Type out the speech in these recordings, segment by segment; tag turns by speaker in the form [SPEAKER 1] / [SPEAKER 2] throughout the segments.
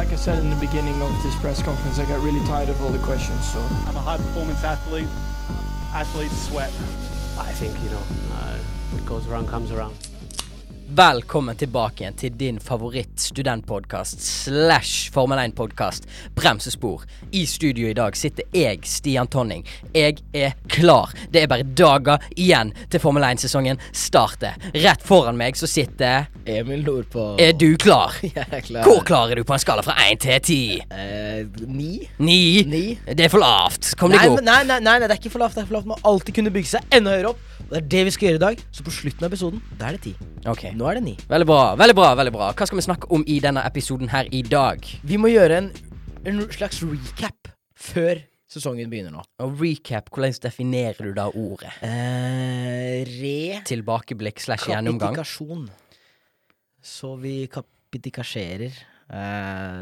[SPEAKER 1] Like I said in the beginning of this press conference, I got really tired of all the questions. So
[SPEAKER 2] I'm a high performance athlete. Athletes sweat.
[SPEAKER 3] I think, you know, uh, what goes around comes around.
[SPEAKER 4] Velkommen tilbake igjen til din favoritt studentpodkast slash Formel 1-podkast Bremsespor. I studio i dag sitter jeg, Stian Tonning. Jeg er klar. Det er bare dager igjen til Formel 1-sesongen starter. Rett foran meg så sitter
[SPEAKER 5] Emil Nordpå.
[SPEAKER 4] Er du klar?
[SPEAKER 5] Jeg er klar.
[SPEAKER 4] Hvor klar er du på en skala fra 1 til 10?
[SPEAKER 5] Eh, ni?
[SPEAKER 4] Ni?
[SPEAKER 5] Ni.
[SPEAKER 4] Det er for lavt. Kom
[SPEAKER 5] Nei,
[SPEAKER 4] deg
[SPEAKER 5] men-
[SPEAKER 4] opp.
[SPEAKER 5] nei, nei, nei, nei, det er ikke for lavt. det er for lavt Man må alltid kunne bygge seg enda høyere opp. Og Det er det vi skal gjøre i dag. Så på slutten av episoden, da er det ti.
[SPEAKER 4] Ok.
[SPEAKER 5] Nå er det ni.
[SPEAKER 4] Veldig bra. veldig bra, veldig bra. Hva skal vi snakke om i denne episoden her i dag?
[SPEAKER 5] Vi må gjøre en, en slags recap før sesongen begynner nå.
[SPEAKER 4] Og recap, hvordan definerer du da ordet?
[SPEAKER 5] Eh, re
[SPEAKER 4] Tilbakeblikk slash gjennomgang.
[SPEAKER 5] Kapitikasjon. Så vi kapitikasjerer eh,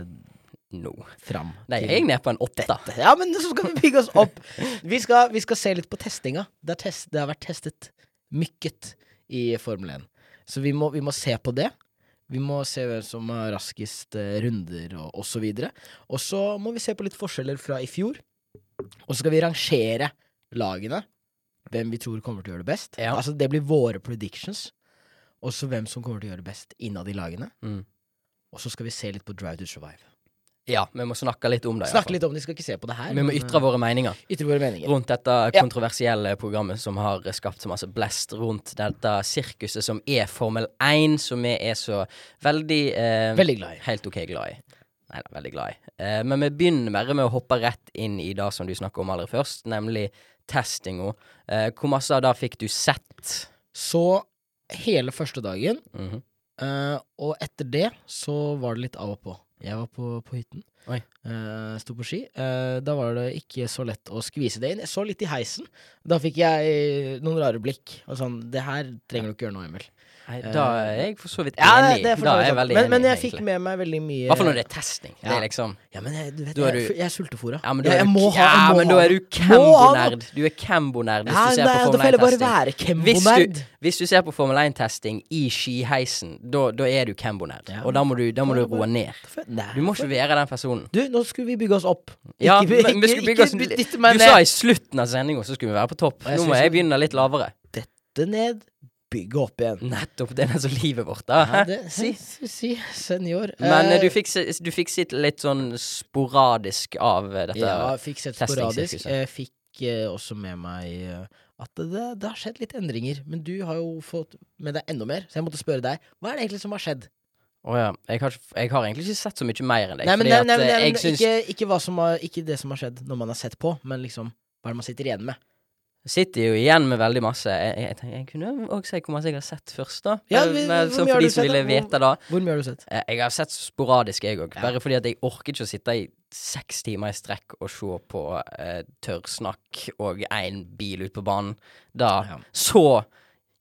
[SPEAKER 4] Nå.
[SPEAKER 5] fram.
[SPEAKER 4] Nei,
[SPEAKER 5] til-
[SPEAKER 4] jeg er nede på en åtte.
[SPEAKER 5] Ja, men så skal vi bygge oss opp. Vi skal, vi skal se litt på testinga. Det, er test, det har vært testet mykket i Formel 1. Så vi må, vi må se på det. Vi må se hvem som har raskest eh, runder og osv. Og så videre. Og så må vi se på litt forskjeller fra i fjor. Og så skal vi rangere lagene. Hvem vi tror kommer til å gjøre det best.
[SPEAKER 4] Ja.
[SPEAKER 5] Altså Det blir våre predictions. Og så hvem som kommer til å gjøre det best innad i lagene.
[SPEAKER 4] Mm.
[SPEAKER 5] Og så skal vi se litt på Drive to Survive.
[SPEAKER 4] Ja, vi må snakke litt om det. i hvert
[SPEAKER 5] Snakke
[SPEAKER 4] fall.
[SPEAKER 5] litt om det, vi skal ikke se på det her.
[SPEAKER 4] Vi må
[SPEAKER 5] men,
[SPEAKER 4] ytre
[SPEAKER 5] eh,
[SPEAKER 4] våre meninger
[SPEAKER 5] ytre våre meninger.
[SPEAKER 4] rundt dette
[SPEAKER 5] Ja.
[SPEAKER 4] kontroversielle programmet som har skapt så masse blest rundt dette sirkuset som er Formel 1, som vi er så veldig eh,
[SPEAKER 5] Veldig glad i.
[SPEAKER 4] Helt OK glad i. Nei da, veldig glad i. Eh, men vi begynner bare med å hoppe rett inn i det som du snakker om aller først, nemlig testinga. Eh, hvor masse av det fikk du sett?
[SPEAKER 5] Så hele første dagen,
[SPEAKER 4] Mhm.
[SPEAKER 5] eh, og etter det så var det litt av og på. Jeg var på, på hytten.
[SPEAKER 4] Oi.
[SPEAKER 5] Eh, Sto på ski. Eh, da var det ikke så lett å skvise det inn. Jeg så litt i heisen. Da fikk jeg eh, noen rare blikk. Og sånn, det her trenger du ikke gjøre nå, Emil.
[SPEAKER 4] Nei,
[SPEAKER 5] Eh,
[SPEAKER 4] da er jeg for så vidt enig.
[SPEAKER 5] Ja, det- det er for
[SPEAKER 4] da
[SPEAKER 5] så
[SPEAKER 4] er
[SPEAKER 5] vidt
[SPEAKER 4] jeg
[SPEAKER 5] sant.
[SPEAKER 4] veldig
[SPEAKER 5] men, men
[SPEAKER 4] enig,
[SPEAKER 5] jeg fikk
[SPEAKER 4] egentlig.
[SPEAKER 5] med meg veldig mye
[SPEAKER 4] I hvert fall når det er testing. Det
[SPEAKER 5] Ja.
[SPEAKER 4] er liksom
[SPEAKER 5] Ja, men jeg, du vet,
[SPEAKER 4] Da er
[SPEAKER 5] jeg,
[SPEAKER 4] du-
[SPEAKER 5] jeg er sultefòra.
[SPEAKER 4] Ja, men da
[SPEAKER 5] jeg,
[SPEAKER 4] er
[SPEAKER 5] jeg
[SPEAKER 4] du,
[SPEAKER 5] må ha
[SPEAKER 4] ja,
[SPEAKER 5] jeg må
[SPEAKER 4] men da
[SPEAKER 5] ha
[SPEAKER 4] er du
[SPEAKER 5] noe. Må ha noe.
[SPEAKER 4] Cambo-nerd. Du er Cambo-nerd hvis
[SPEAKER 5] Ja,
[SPEAKER 4] du ser på
[SPEAKER 5] nei, da får
[SPEAKER 4] Formel
[SPEAKER 5] jeg bare
[SPEAKER 4] 1-testing.
[SPEAKER 5] være
[SPEAKER 4] Hvis du,
[SPEAKER 5] kembonerd.
[SPEAKER 4] hvis du ser på Formel 1-testing i skiheisen, da, da er du Cambo-nerd.
[SPEAKER 5] Ja.
[SPEAKER 4] Og da må du, da må
[SPEAKER 5] Da
[SPEAKER 4] du
[SPEAKER 5] er det
[SPEAKER 4] roe ned. Du må ikke være den personen.
[SPEAKER 5] Du, nå skulle vi bygge oss opp.
[SPEAKER 4] Ja,
[SPEAKER 5] Ikke-
[SPEAKER 4] men vi
[SPEAKER 5] ikke-
[SPEAKER 4] skulle bygge oss
[SPEAKER 5] ikke
[SPEAKER 4] litt-
[SPEAKER 5] dytte meg
[SPEAKER 4] Du
[SPEAKER 5] ned.
[SPEAKER 4] sa i slutten av sendinga så skulle vi være på topp.
[SPEAKER 5] Og eh, jeg
[SPEAKER 4] Nå må
[SPEAKER 5] synes
[SPEAKER 4] jeg
[SPEAKER 5] vi-
[SPEAKER 4] begynne litt lavere.
[SPEAKER 5] dytte ned, bygge opp igjen.
[SPEAKER 4] Nettopp. Det er altså livet vårt, da.
[SPEAKER 5] Ja, det,
[SPEAKER 4] Si.
[SPEAKER 5] si, si, senior.
[SPEAKER 4] Men eh,
[SPEAKER 5] Eh,
[SPEAKER 4] du fikk, se- du fikk sitt litt sånn sporadisk av eh, dette.
[SPEAKER 5] Ja, fikk sett sporadisk.
[SPEAKER 4] testingsykehuset.
[SPEAKER 5] Jeg fikk eh, også med meg eh, at det, det, det har skjedd litt endringer. Men du har jo fått med deg enda mer, så jeg måtte spørre deg. Hva er det egentlig som har skjedd?
[SPEAKER 4] Å ja. Jeg har, ikke- jeg har egentlig ikke sett så mye mer enn deg.
[SPEAKER 5] Nei, men,
[SPEAKER 4] fordi
[SPEAKER 5] nei,
[SPEAKER 4] at,
[SPEAKER 5] nei,
[SPEAKER 4] eh,
[SPEAKER 5] nei, men
[SPEAKER 4] jeg syns
[SPEAKER 5] ikke, ikke, hva som har, ikke det som har skjedd når man har sett på, men liksom hva er det man sitter igjen med.
[SPEAKER 4] Sitter jo igjen med veldig masse. Jeg, jeg, jeg, tenker, jeg kunne òg si hvor masse jeg har sett først, da.
[SPEAKER 5] Ja,
[SPEAKER 4] Eh,
[SPEAKER 5] vi-
[SPEAKER 4] men
[SPEAKER 5] hvor
[SPEAKER 4] sånn
[SPEAKER 5] mye har
[SPEAKER 4] for
[SPEAKER 5] du
[SPEAKER 4] de som
[SPEAKER 5] sett,
[SPEAKER 4] ville
[SPEAKER 5] da? Hvor-
[SPEAKER 4] vite det.
[SPEAKER 5] Hvor mye har du sett?
[SPEAKER 4] Eh, Jeg har sett sporadisk, jeg òg.
[SPEAKER 5] Ja.
[SPEAKER 4] Bare fordi at jeg orker ikke å sitte i seks timer i strekk og se på eh, tørrsnakk og én bil ut på banen. Da
[SPEAKER 5] Ja.
[SPEAKER 4] så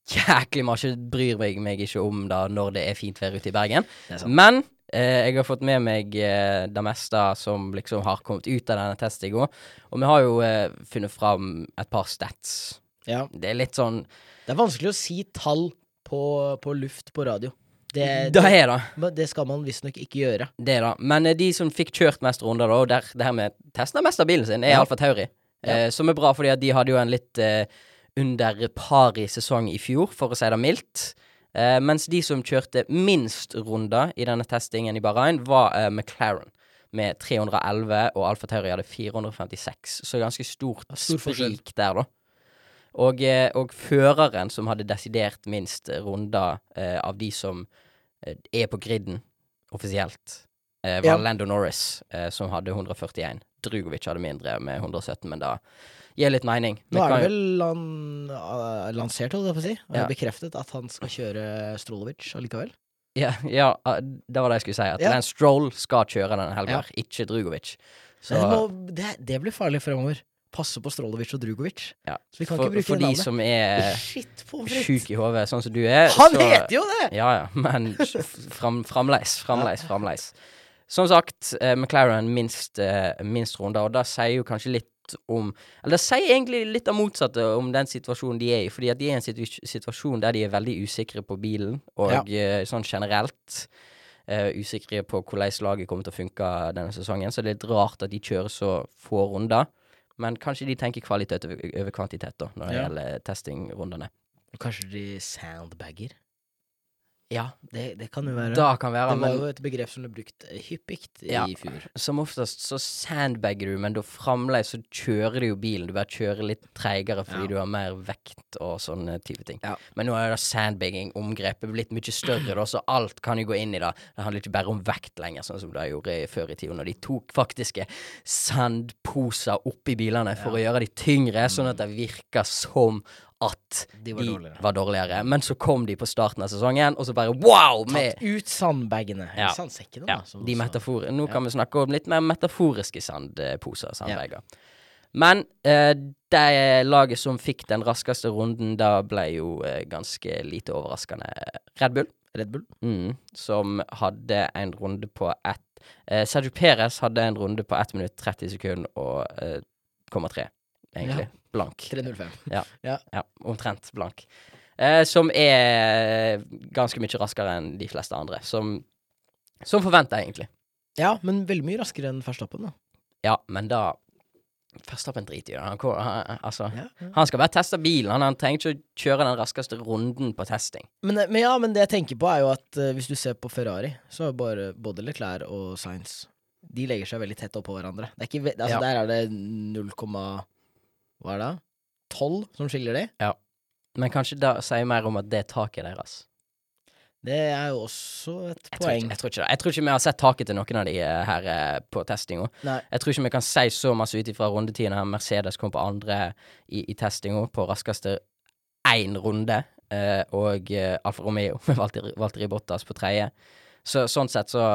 [SPEAKER 4] jæklig mye bryr meg, meg ikke om da når det er fint vær ute i Bergen.
[SPEAKER 5] Det er sant.
[SPEAKER 4] Men eh, jeg har fått med meg eh, det meste som liksom har kommet ut av denne testen i går. Og vi har jo eh, funnet fram et par stats.
[SPEAKER 5] Ja.
[SPEAKER 4] Det er litt sånn
[SPEAKER 5] Det er vanskelig å si tall på, på luft på radio. Eh, Det,
[SPEAKER 4] Det er det.
[SPEAKER 5] men det skal man visstnok ikke gjøre.
[SPEAKER 4] Det da. Men eh, de som fikk kjørt mest runder, da, og der, det her med testa mest av bilen sin, er
[SPEAKER 5] Ja.
[SPEAKER 4] Alfa Tauri. Eh, som er bra, fordi at de hadde jo en litt eh, under par i sesong i fjor, for å si det mildt. Eh, mens de som kjørte minst runder i denne testingen i Bahrain, var eh, McLaren. Med 311, og Alfa Tauri hadde 456. Så ganske stort
[SPEAKER 5] stor forskjell.
[SPEAKER 4] sprik der, da. Og, eh, og føreren som hadde desidert minst runder eh, av de som eh, er på griden offisielt, eh, var
[SPEAKER 5] Ja.
[SPEAKER 4] Lando Norris, eh, som hadde 141. Drugovic hadde mindre, med 117, men da gir litt mening. Vi
[SPEAKER 5] Nå er det
[SPEAKER 4] kan jo-
[SPEAKER 5] vel han, eh, lansert, holdt jeg på å si, og
[SPEAKER 4] Ja.
[SPEAKER 5] bekreftet at han skal kjøre Strolovic allikevel.
[SPEAKER 4] Ja, ja, ah, det var det jeg skulle si. At
[SPEAKER 5] Ja.
[SPEAKER 4] Lance Stroll skal kjøre denne helga,
[SPEAKER 5] Ja.
[SPEAKER 4] her, ikke Drugovic. Så,
[SPEAKER 5] Så det, må, det, det blir farlig fremover. Passe på Strolovic og Drugovic.
[SPEAKER 4] ja.
[SPEAKER 5] Så vi kan
[SPEAKER 4] for,
[SPEAKER 5] ikke bruke
[SPEAKER 4] for
[SPEAKER 5] det
[SPEAKER 4] de
[SPEAKER 5] navnet.
[SPEAKER 4] som er
[SPEAKER 5] Shit, pommes frites!
[SPEAKER 4] sjuke i hodet, sånn som du er
[SPEAKER 5] Han
[SPEAKER 4] Eh, så-
[SPEAKER 5] heter jo det!
[SPEAKER 4] Ja, ja, men fram, framleis, framleis, framleis. Som sagt, eh, McLaren minst, eh, minst runder, og det sier jo kanskje litt om Eller det sier egentlig litt av motsatte om den situasjonen de er i, fordi at de er i en situ- situasjon der de er veldig usikre på bilen, og eh, sånn generelt. Eh, eh, usikre på hvordan laget kommer til å funke denne sesongen. Så det er litt rart at de kjører så få runder. Men kanskje de tenker kvalitet over, over kvantitet da, når det
[SPEAKER 5] Ja.
[SPEAKER 4] gjelder testingrundene.
[SPEAKER 5] Kanskje de soundbagger?
[SPEAKER 4] Ja,
[SPEAKER 5] Det, det kan jo være.
[SPEAKER 4] da kan være,
[SPEAKER 5] det var
[SPEAKER 4] men
[SPEAKER 5] jo et begrep som ble brukt eh, hyppig
[SPEAKER 4] Ja.
[SPEAKER 5] i fjor.
[SPEAKER 4] som oftest så sandbagger du, men da fremdeles så kjører du jo bilen. Du bare kjører litt treigere fordi
[SPEAKER 5] Ja.
[SPEAKER 4] du har mer vekt og sånne type ting.
[SPEAKER 5] Ja.
[SPEAKER 4] Men nå er da sandbagging-omgrepet blitt mye større, da, så alt kan jo gå inn i det. Det handler ikke bare om vekt lenger, sånn som det gjorde i- før i tida, når de tok faktiske sandposer oppi bilene for å gjøre de tyngre, sånn at det virka som at
[SPEAKER 5] De var dårligere.
[SPEAKER 4] var dårligere. Men så kom de på starten av sesongen, og så bare wow! Med,
[SPEAKER 5] Tatt ut sandbagene.
[SPEAKER 4] Ja.
[SPEAKER 5] Eller sandsekkene,
[SPEAKER 4] ja,
[SPEAKER 5] da. som
[SPEAKER 4] de
[SPEAKER 5] også-
[SPEAKER 4] metafor Nå kan vi snakke om litt mer metaforiske sandposer. Sandbager. Men eh, det laget som fikk den raskeste runden, da ble jo eh, ganske lite overraskende Red Bull,
[SPEAKER 5] Red Bull.
[SPEAKER 4] mm, som hadde en runde på ett eh, Sergio Perez hadde en runde på 1 minutt 30 sekunder og eh, 0,3, egentlig. Blank.
[SPEAKER 5] 305.
[SPEAKER 4] Ja, omtrent blank. Eh, som er ganske mye raskere enn de fleste andre. Som, som forventa, egentlig.
[SPEAKER 5] Ja, men veldig mye raskere enn Verstappen, da.
[SPEAKER 4] Ja, men da Verstappen driter i det. Han, ko- han, altså,
[SPEAKER 5] Ja.
[SPEAKER 4] han skal bare teste bilen. Han, han trenger ikke å kjøre den raskeste runden på testing.
[SPEAKER 5] Men, eh, men ja, men det jeg tenker på, er jo at eh, hvis du ser på Ferrari, så er bare både Leclerc og Sainz De legger seg veldig tett oppå hverandre. Det er ikke, ve- altså,
[SPEAKER 4] Ja.
[SPEAKER 5] Der er det 0, hva er det? 12 som skiller de.
[SPEAKER 4] Men kanskje det sier mer om at det er taket deres.
[SPEAKER 5] Det er jo også et
[SPEAKER 4] Jeg tror, ikke,
[SPEAKER 5] poeng.
[SPEAKER 4] jeg, tror ikke, det. jeg tror ikke vi har sett taket til noen av de eh, her eh, på testinga.
[SPEAKER 5] Nei.
[SPEAKER 4] Jeg tror ikke vi kan si så masse ut ifra rundetiden. her. Mercedes kom på andre i, i testinga på raskeste én runde, eh, og eh, Alfa Romeo med Valtteri, Valtteri Bottas på tredje. Så sånn sett så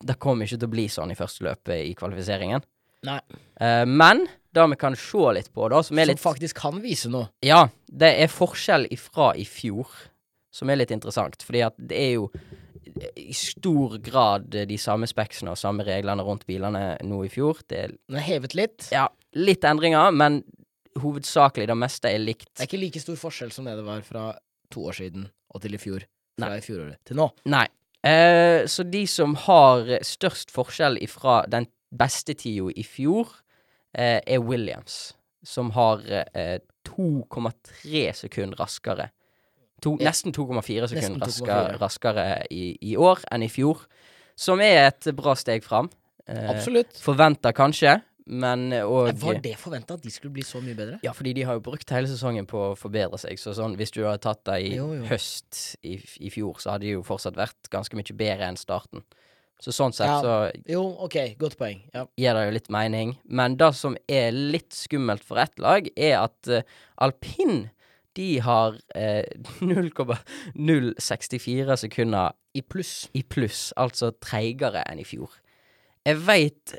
[SPEAKER 4] Det kommer ikke til å bli sånn i første løpet i kvalifiseringen.
[SPEAKER 5] Nei.
[SPEAKER 4] Eh, men det vi kan se litt på, da, som er
[SPEAKER 5] Som
[SPEAKER 4] litt
[SPEAKER 5] faktisk kan vise noe.
[SPEAKER 4] ja, det er forskjell ifra i fjor, som er litt interessant. Fordi at det er jo i stor grad de samme speksene og samme reglene rundt bilene nå i fjor. Det er
[SPEAKER 5] Den er hevet litt.
[SPEAKER 4] ja, litt endringer, men hovedsakelig det meste er
[SPEAKER 5] Det
[SPEAKER 4] likt.
[SPEAKER 5] er ikke like stor forskjell som det det var fra to år siden og til i fjor. Fra
[SPEAKER 4] Nei.
[SPEAKER 5] i fjoråret til nå.
[SPEAKER 4] Nei. Eh, så de som har størst forskjell ifra den beste tida i fjor, eh, er Williams, som har eh, 2,3 sekunder raskere. To,
[SPEAKER 5] Ja.
[SPEAKER 4] Nesten 2,4
[SPEAKER 5] Nesten
[SPEAKER 4] sekunder raskere,
[SPEAKER 5] 2,4.
[SPEAKER 4] raskere i, i år enn i fjor, som er et bra steg fram. Eh,
[SPEAKER 5] Absolutt.
[SPEAKER 4] Forventa kanskje, men òg
[SPEAKER 5] Var det forventa at de skulle bli så mye bedre?
[SPEAKER 4] ja, fordi de har jo brukt hele sesongen på å forbedre seg. Så sånn, hvis du hadde tatt det i
[SPEAKER 5] Jo, jo.
[SPEAKER 4] høst i, f- i fjor, så hadde de jo fortsatt vært ganske mye bedre enn starten. Så sånn sett
[SPEAKER 5] Ja.
[SPEAKER 4] så
[SPEAKER 5] Jo, ok, godt poeng. Ja.
[SPEAKER 4] gir det jo litt mening. Men det som er litt skummelt for ett lag, er at eh, alpin de har eh, 0,064 sekunder
[SPEAKER 5] I pluss.
[SPEAKER 4] i pluss, altså treigere enn i fjor. Jeg veit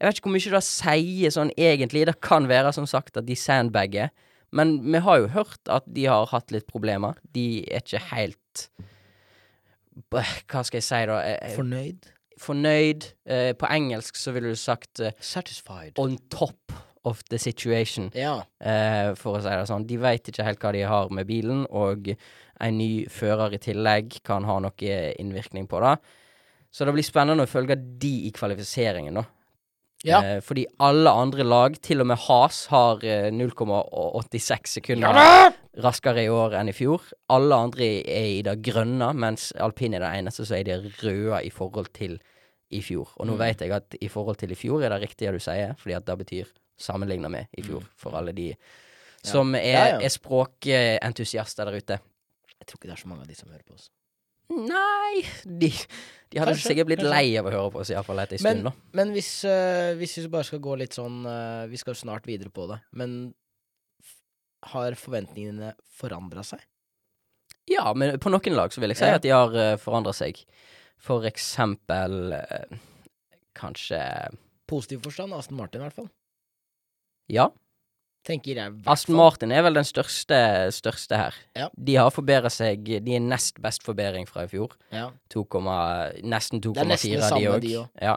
[SPEAKER 4] Jeg vet ikke hvor mye det sier sånn egentlig. Det kan være som sagt at de sandbagger, men vi har jo hørt at de har hatt litt problemer. De er ikke helt Bæ, Hva skal jeg si, da? Eh, eh,
[SPEAKER 5] Fornøyd.
[SPEAKER 4] Fornøyd. Eh, På engelsk så ville du sagt eh,
[SPEAKER 5] Satisfied.
[SPEAKER 4] on top of the situation,
[SPEAKER 5] Ja.
[SPEAKER 4] eh, for å si det sånn. De veit ikke helt hva de har med bilen, og en ny fører i tillegg kan ha noe innvirkning på det. Så det blir spennende å følge de i kvalifiseringen, da.
[SPEAKER 5] Ja.
[SPEAKER 4] Eh, fordi alle andre lag, til og med Has, har eh, 0,86 sekunder raskere i år enn i fjor. Alle andre er i det grønne, mens alpin er det eneste som er i det røde i forhold til i fjor. Og nå vet jeg at i forhold til i fjor er det riktig det du sier, fordi at det betyr sammenligna med i fjor, for alle de som er,
[SPEAKER 5] Mm. Ja, ja.
[SPEAKER 4] er språkentusiaster der ute.
[SPEAKER 5] Jeg tror ikke det er så mange av de som hører på oss.
[SPEAKER 4] Nei De, de hadde
[SPEAKER 5] Kanskje,
[SPEAKER 4] sikkert blitt
[SPEAKER 5] kanskje.
[SPEAKER 4] lei av å høre på oss, iallfall etter en
[SPEAKER 5] Men,
[SPEAKER 4] stund, da.
[SPEAKER 5] men hvis, eh, hvis vi bare skal gå litt sånn eh, Vi skal jo snart videre på det, men f- har forventningene forandra seg?
[SPEAKER 4] Ja, men på noen lag så vil jeg si
[SPEAKER 5] Ja.
[SPEAKER 4] at de har uh, forandra seg. For eksempel eh, Kanskje
[SPEAKER 5] Positiv forstand, Aston Martin i hvert fall.
[SPEAKER 4] Ja.
[SPEAKER 5] Tenker jeg. i hvert
[SPEAKER 4] Aston
[SPEAKER 5] fall.
[SPEAKER 4] Martin er vel den største, største her.
[SPEAKER 5] Ja.
[SPEAKER 4] De har forbedret seg De er nest best forbedring fra i fjor.
[SPEAKER 5] Ja.
[SPEAKER 4] 2, nesten 2,4
[SPEAKER 5] Det er nesten det
[SPEAKER 4] de
[SPEAKER 5] samme,
[SPEAKER 4] òg.
[SPEAKER 5] de òg.
[SPEAKER 4] Ja.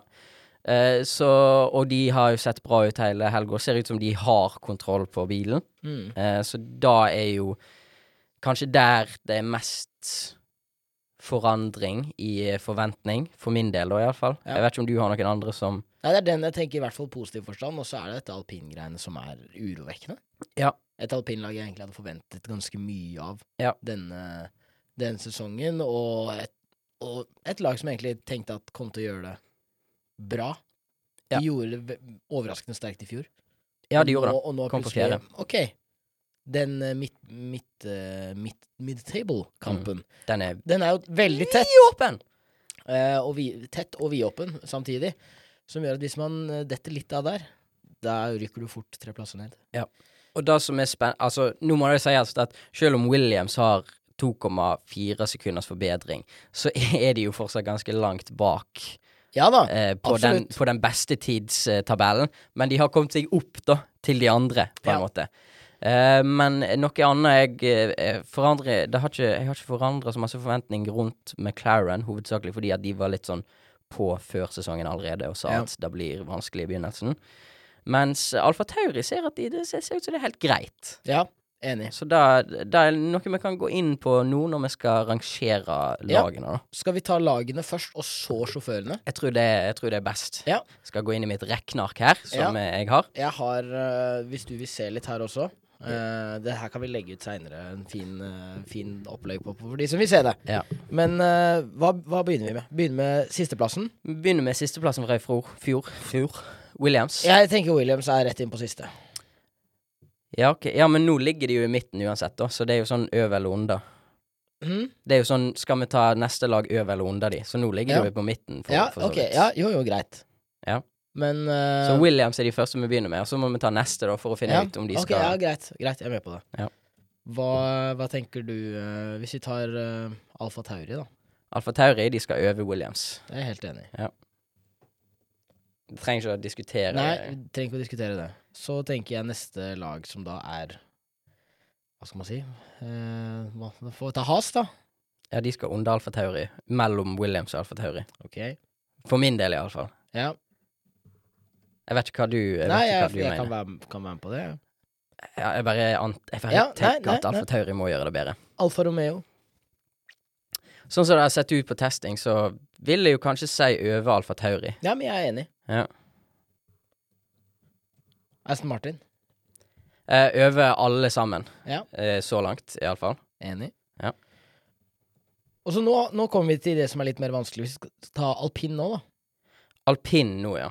[SPEAKER 4] Eh, så, og de har jo sett bra ut hele helga. Ser ut som de har kontroll på bilen.
[SPEAKER 5] Mm.
[SPEAKER 4] Eh, så da er jo kanskje der det er mest forandring i eh, forventning, for min del da iallfall.
[SPEAKER 5] Ja.
[SPEAKER 4] fall Jeg vet ikke om du har noen andre som
[SPEAKER 5] Nei, det er den jeg tenker i hvert fall positiv forstand, og så er det dette alpingreiene som er urovekkende.
[SPEAKER 4] Ja.
[SPEAKER 5] Et alpinlag jeg egentlig hadde forventet ganske mye av
[SPEAKER 4] Ja.
[SPEAKER 5] denne, denne sesongen, og et, og et lag som jeg egentlig tenkte at kom til å gjøre det bra.
[SPEAKER 4] Ja.
[SPEAKER 5] De gjorde det ve- overraskende sterkt i fjor.
[SPEAKER 4] Ja, de gjorde det.
[SPEAKER 5] Og nå, og nå
[SPEAKER 4] Kom på
[SPEAKER 5] plutselig, ok, den eh, midt, midt, eh, midt, mid-table-kampen,
[SPEAKER 4] Den er
[SPEAKER 5] den er jo veldig tett.
[SPEAKER 4] åpen!
[SPEAKER 5] Eh, og vi, tett og vidåpen samtidig. Som gjør at hvis man eh, detter litt av der, da rykker du fort tre plasser ned.
[SPEAKER 4] Og det som er spenn... Altså, nå må det sies at selv om Williams har 2,4 sekunders forbedring, så er de jo fortsatt ganske langt bak
[SPEAKER 5] Ja da.
[SPEAKER 4] eh, på, den,
[SPEAKER 5] absolutt.
[SPEAKER 4] på den beste tidstabellen. Men de har kommet seg opp, da, til de andre, på en
[SPEAKER 5] Ja.
[SPEAKER 4] måte. Eh, men noe annet jeg eh, forandrer det har ikke, Jeg har ikke forandra så masse forventning rundt McLaren, hovedsakelig fordi at de var litt sånn på før sesongen allerede og sa
[SPEAKER 5] Ja.
[SPEAKER 4] at det blir vanskelig i begynnelsen. Mens Alfa Tauri ser at de, det ser ser ut som det er helt greit.
[SPEAKER 5] Ja, enig.
[SPEAKER 4] Så det er noe vi kan gå inn på nå når vi skal rangere
[SPEAKER 5] Ja.
[SPEAKER 4] lagene. da.
[SPEAKER 5] Skal vi ta lagene først, og så sjåførene?
[SPEAKER 4] Jeg tror, det, jeg tror det er best.
[SPEAKER 5] Ja.
[SPEAKER 4] Skal gå inn i mitt rekneark her, som eh, jeg har.
[SPEAKER 5] Jeg har, eh, hvis du vil se litt her også eh, Det her kan vi legge ut seinere, en fin, eh, fin opplegg på for de som vil se det.
[SPEAKER 4] Ja.
[SPEAKER 5] Men eh, hva, hva begynner vi med? Begynner med sisteplassen.
[SPEAKER 4] Vi Begynner med sisteplassen fra i fjor. Fjor. fjor. Williams.
[SPEAKER 5] Jeg tenker Williams er rett inn på siste.
[SPEAKER 4] Ja, ok. ja, men nå ligger de jo i midten uansett, da, så det er jo sånn over eller under.
[SPEAKER 5] Mhm.
[SPEAKER 4] Det er jo sånn Skal vi ta neste lag over eller under de? Så nå ligger
[SPEAKER 5] Ja.
[SPEAKER 4] de jo på midten. For,
[SPEAKER 5] Ja,
[SPEAKER 4] for så
[SPEAKER 5] ok.
[SPEAKER 4] vidt.
[SPEAKER 5] Ja, jo, jo, greit.
[SPEAKER 4] Ja.
[SPEAKER 5] Men eh,
[SPEAKER 4] Så Williams er de første vi begynner med, og så må vi ta neste da for å finne
[SPEAKER 5] Ja,
[SPEAKER 4] ut om de
[SPEAKER 5] ok,
[SPEAKER 4] skal
[SPEAKER 5] Ja, greit, greit, jeg er med på det.
[SPEAKER 4] Ja.
[SPEAKER 5] Hva, hva tenker du eh, hvis vi tar uh, Alfa Tauri, da?
[SPEAKER 4] Alfa Tauri de skal over Williams.
[SPEAKER 5] Det er jeg helt enig i.
[SPEAKER 4] Vi trenger ikke å diskutere
[SPEAKER 5] Nei, vi trenger ikke å diskutere det. Så tenker jeg neste lag, som da er Hva skal man si? Eh, hva, da får vi ta Has, da.
[SPEAKER 4] Ja, de skal under Alfa Tauri. Mellom Williams og Alfa Tauri.
[SPEAKER 5] Ok.
[SPEAKER 4] For min del, iallfall.
[SPEAKER 5] Ja.
[SPEAKER 4] Jeg vet ikke hva du, jeg
[SPEAKER 5] Nei,
[SPEAKER 4] vet ikke
[SPEAKER 5] jeg,
[SPEAKER 4] hva du
[SPEAKER 5] jeg,
[SPEAKER 4] mener.
[SPEAKER 5] kan, være, med- kan være med på det.
[SPEAKER 4] Ja, jeg bare, ant, jeg bare
[SPEAKER 5] Ja, nei,
[SPEAKER 4] tenker
[SPEAKER 5] nei,
[SPEAKER 4] at Alfa Tauri må gjøre det bedre.
[SPEAKER 5] Alfa Romeo.
[SPEAKER 4] Sånn som det har sett ut på testing, så vil jeg jo kanskje si over Alfa Tauri.
[SPEAKER 5] Ja, men jeg er enig.
[SPEAKER 4] Ja.
[SPEAKER 5] Aston Martin.
[SPEAKER 4] Eh, over alle sammen,
[SPEAKER 5] Ja.
[SPEAKER 4] eh, så langt iallfall.
[SPEAKER 5] Enig.
[SPEAKER 4] Ja.
[SPEAKER 5] Og så nå, nå kommer vi til det som er litt mer vanskelig. Vi skal ta alpin nå, da.
[SPEAKER 4] Alpin nå, ja.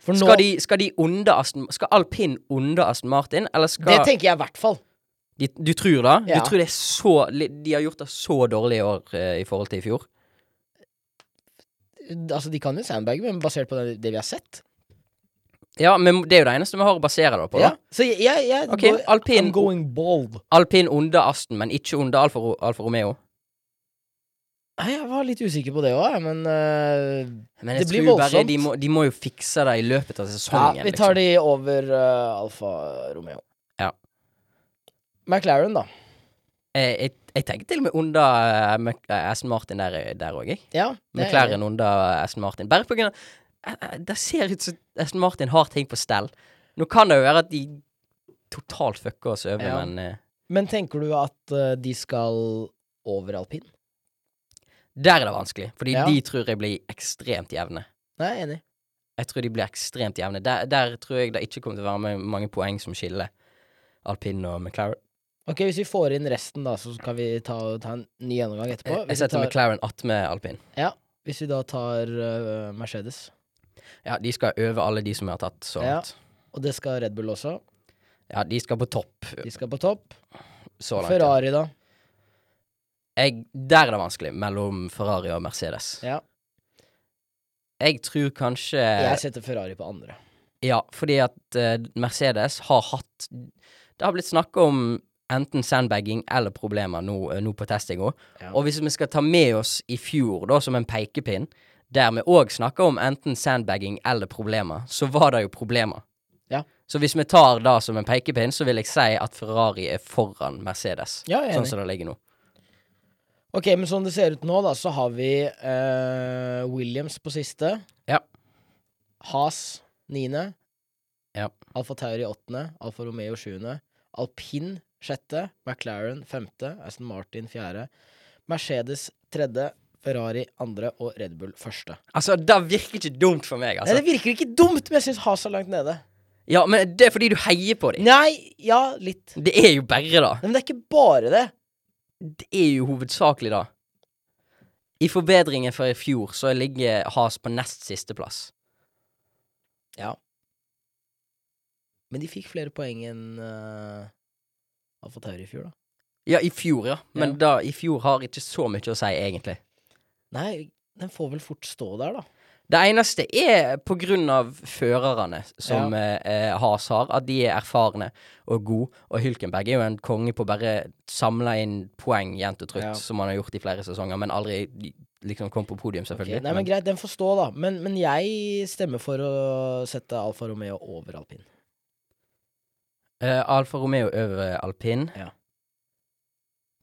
[SPEAKER 5] For nå,
[SPEAKER 4] Skal, de, skal de under Aston Skal Alpin under Aston Martin, eller
[SPEAKER 5] Det
[SPEAKER 4] skal
[SPEAKER 5] tenker jeg i hvert fall.
[SPEAKER 4] de, Du tror det?
[SPEAKER 5] Ja.
[SPEAKER 4] Du tror det er så li- De har gjort det så dårlig i år eh, i forhold til i fjor?
[SPEAKER 5] Altså, De kan jo sandbag, men basert på det, det vi har sett.
[SPEAKER 4] Ja, men det er jo det eneste vi har å basere det på.
[SPEAKER 5] Ja.
[SPEAKER 4] da.
[SPEAKER 5] Så jeg, jeg, jeg
[SPEAKER 4] Ok,
[SPEAKER 5] går-
[SPEAKER 4] alpin-
[SPEAKER 5] I'm going bold.
[SPEAKER 4] Alpin under Aston, men ikke under Alfa, Ro- Alfa Romeo.
[SPEAKER 5] Nei, Jeg var litt usikker på det òg, men øh,
[SPEAKER 4] Men jeg
[SPEAKER 5] Det blir
[SPEAKER 4] tror bare
[SPEAKER 5] voldsomt.
[SPEAKER 4] de må, de må jo fikse det i løpet av
[SPEAKER 5] ja,
[SPEAKER 4] sesongen.
[SPEAKER 5] Vi tar de over øh, Alfa Romeo.
[SPEAKER 4] liksom. Ja.
[SPEAKER 5] McLaren, da.
[SPEAKER 4] Eh, Jeg, jeg, jeg tenker til og med under eh, Mc- eh, Aston Martin der òg, jeg.
[SPEAKER 5] Ja, det er jeg enig
[SPEAKER 4] McLaren under Aston Martin. Bare på grunn av eh, eh, Det ser ut som Aston Martin har ting på stell. Nå kan det jo være at de totalt fucker oss over,
[SPEAKER 5] Ja.
[SPEAKER 4] men eh,
[SPEAKER 5] i. Men tenker du at øh, de skal over alpin?
[SPEAKER 4] der er det vanskelig. Fordi
[SPEAKER 5] Ja.
[SPEAKER 4] de tror jeg blir ekstremt jevne.
[SPEAKER 5] Nei, jeg er enig.
[SPEAKER 4] Jeg tror de blir ekstremt jevne. Der, der tror jeg det ikke kommer til å være ma- mange poeng som skiller alpin og McLaren.
[SPEAKER 5] Ok, Hvis vi får inn resten, da, så kan vi ta, ta en ny gjennomgang etterpå.
[SPEAKER 4] Eh, Jeg, jeg
[SPEAKER 5] Hvis vi,
[SPEAKER 4] setter
[SPEAKER 5] tar,
[SPEAKER 4] McLaren attmed alpin.
[SPEAKER 5] hvis vi da tar øh, Mercedes,
[SPEAKER 4] Ja, de skal over alle de som vi har tatt så
[SPEAKER 5] Ja.
[SPEAKER 4] langt.
[SPEAKER 5] og det skal Red Bull også.
[SPEAKER 4] Ja, de skal på topp
[SPEAKER 5] De skal på topp.
[SPEAKER 4] så langt. ja.
[SPEAKER 5] Ferrari, da.
[SPEAKER 4] jeg, der er det vanskelig mellom Ferrari og Mercedes.
[SPEAKER 5] Ja.
[SPEAKER 4] Jeg tror kanskje
[SPEAKER 5] Jeg setter Ferrari på andre.
[SPEAKER 4] Ja, fordi at eh, Mercedes har hatt Det har blitt snakka om enten sandbagging eller problemer nå, eh, nå på testinga.
[SPEAKER 5] Ja.
[SPEAKER 4] Og hvis vi skal ta med oss i fjor da som en pekepinn, der vi òg snakka om enten sandbagging eller problemer, så var det jo problemer.
[SPEAKER 5] Ja.
[SPEAKER 4] Så hvis vi tar det som en pekepinn, så vil jeg si at Ferrari er foran Mercedes.
[SPEAKER 5] Ja, jeg er
[SPEAKER 4] sånn
[SPEAKER 5] enig.
[SPEAKER 4] som det ligger nå.
[SPEAKER 5] Ok, men sånn det ser ut nå, da, så har vi eh, Williams på siste.
[SPEAKER 4] Ja.
[SPEAKER 5] Has niende.
[SPEAKER 4] Ja.
[SPEAKER 5] Alfa Tauri åttende. Alfa Romeo sjuende. Alpin sjette. McLaren femte. Aston Martin fjerde. Mercedes tredje, Ferrari andre og Red Bull første.
[SPEAKER 4] Altså, det virker ikke dumt for meg,
[SPEAKER 5] Nei,
[SPEAKER 4] altså.
[SPEAKER 5] det virker ikke dumt, men jeg syns Hasa er langt nede.
[SPEAKER 4] Ja, men det er fordi du heier på dem.
[SPEAKER 5] Nei, ja, litt.
[SPEAKER 4] Det er jo bare det.
[SPEAKER 5] Nei, men det er ikke bare det.
[SPEAKER 4] Det er jo hovedsakelig det. I forbedringen fra i fjor så ligger Has på nest siste plass.
[SPEAKER 5] Men de fikk flere poeng enn uh, Alfa Tauri i fjor, da.
[SPEAKER 4] Ja, i fjor, ja. Men
[SPEAKER 5] Ja.
[SPEAKER 4] da, i fjor har ikke så mye å si, egentlig.
[SPEAKER 5] Nei, den får vel fort stå der, da.
[SPEAKER 4] Det eneste er på grunn av førerne som eh, eh, Haas har, at de er erfarne og gode. Og Hylkenberg er jo en konge på å bare samle inn poeng jevnt og trutt,
[SPEAKER 5] Ja.
[SPEAKER 4] som han har gjort i flere sesonger, men aldri liksom kom på podium, selvfølgelig.
[SPEAKER 5] Nei, men Greit, den får stå, da. Men, men jeg stemmer for å sette Alfa Romeo over alpin.
[SPEAKER 4] Eh, Alfa Romeo over alpin.
[SPEAKER 5] Ja.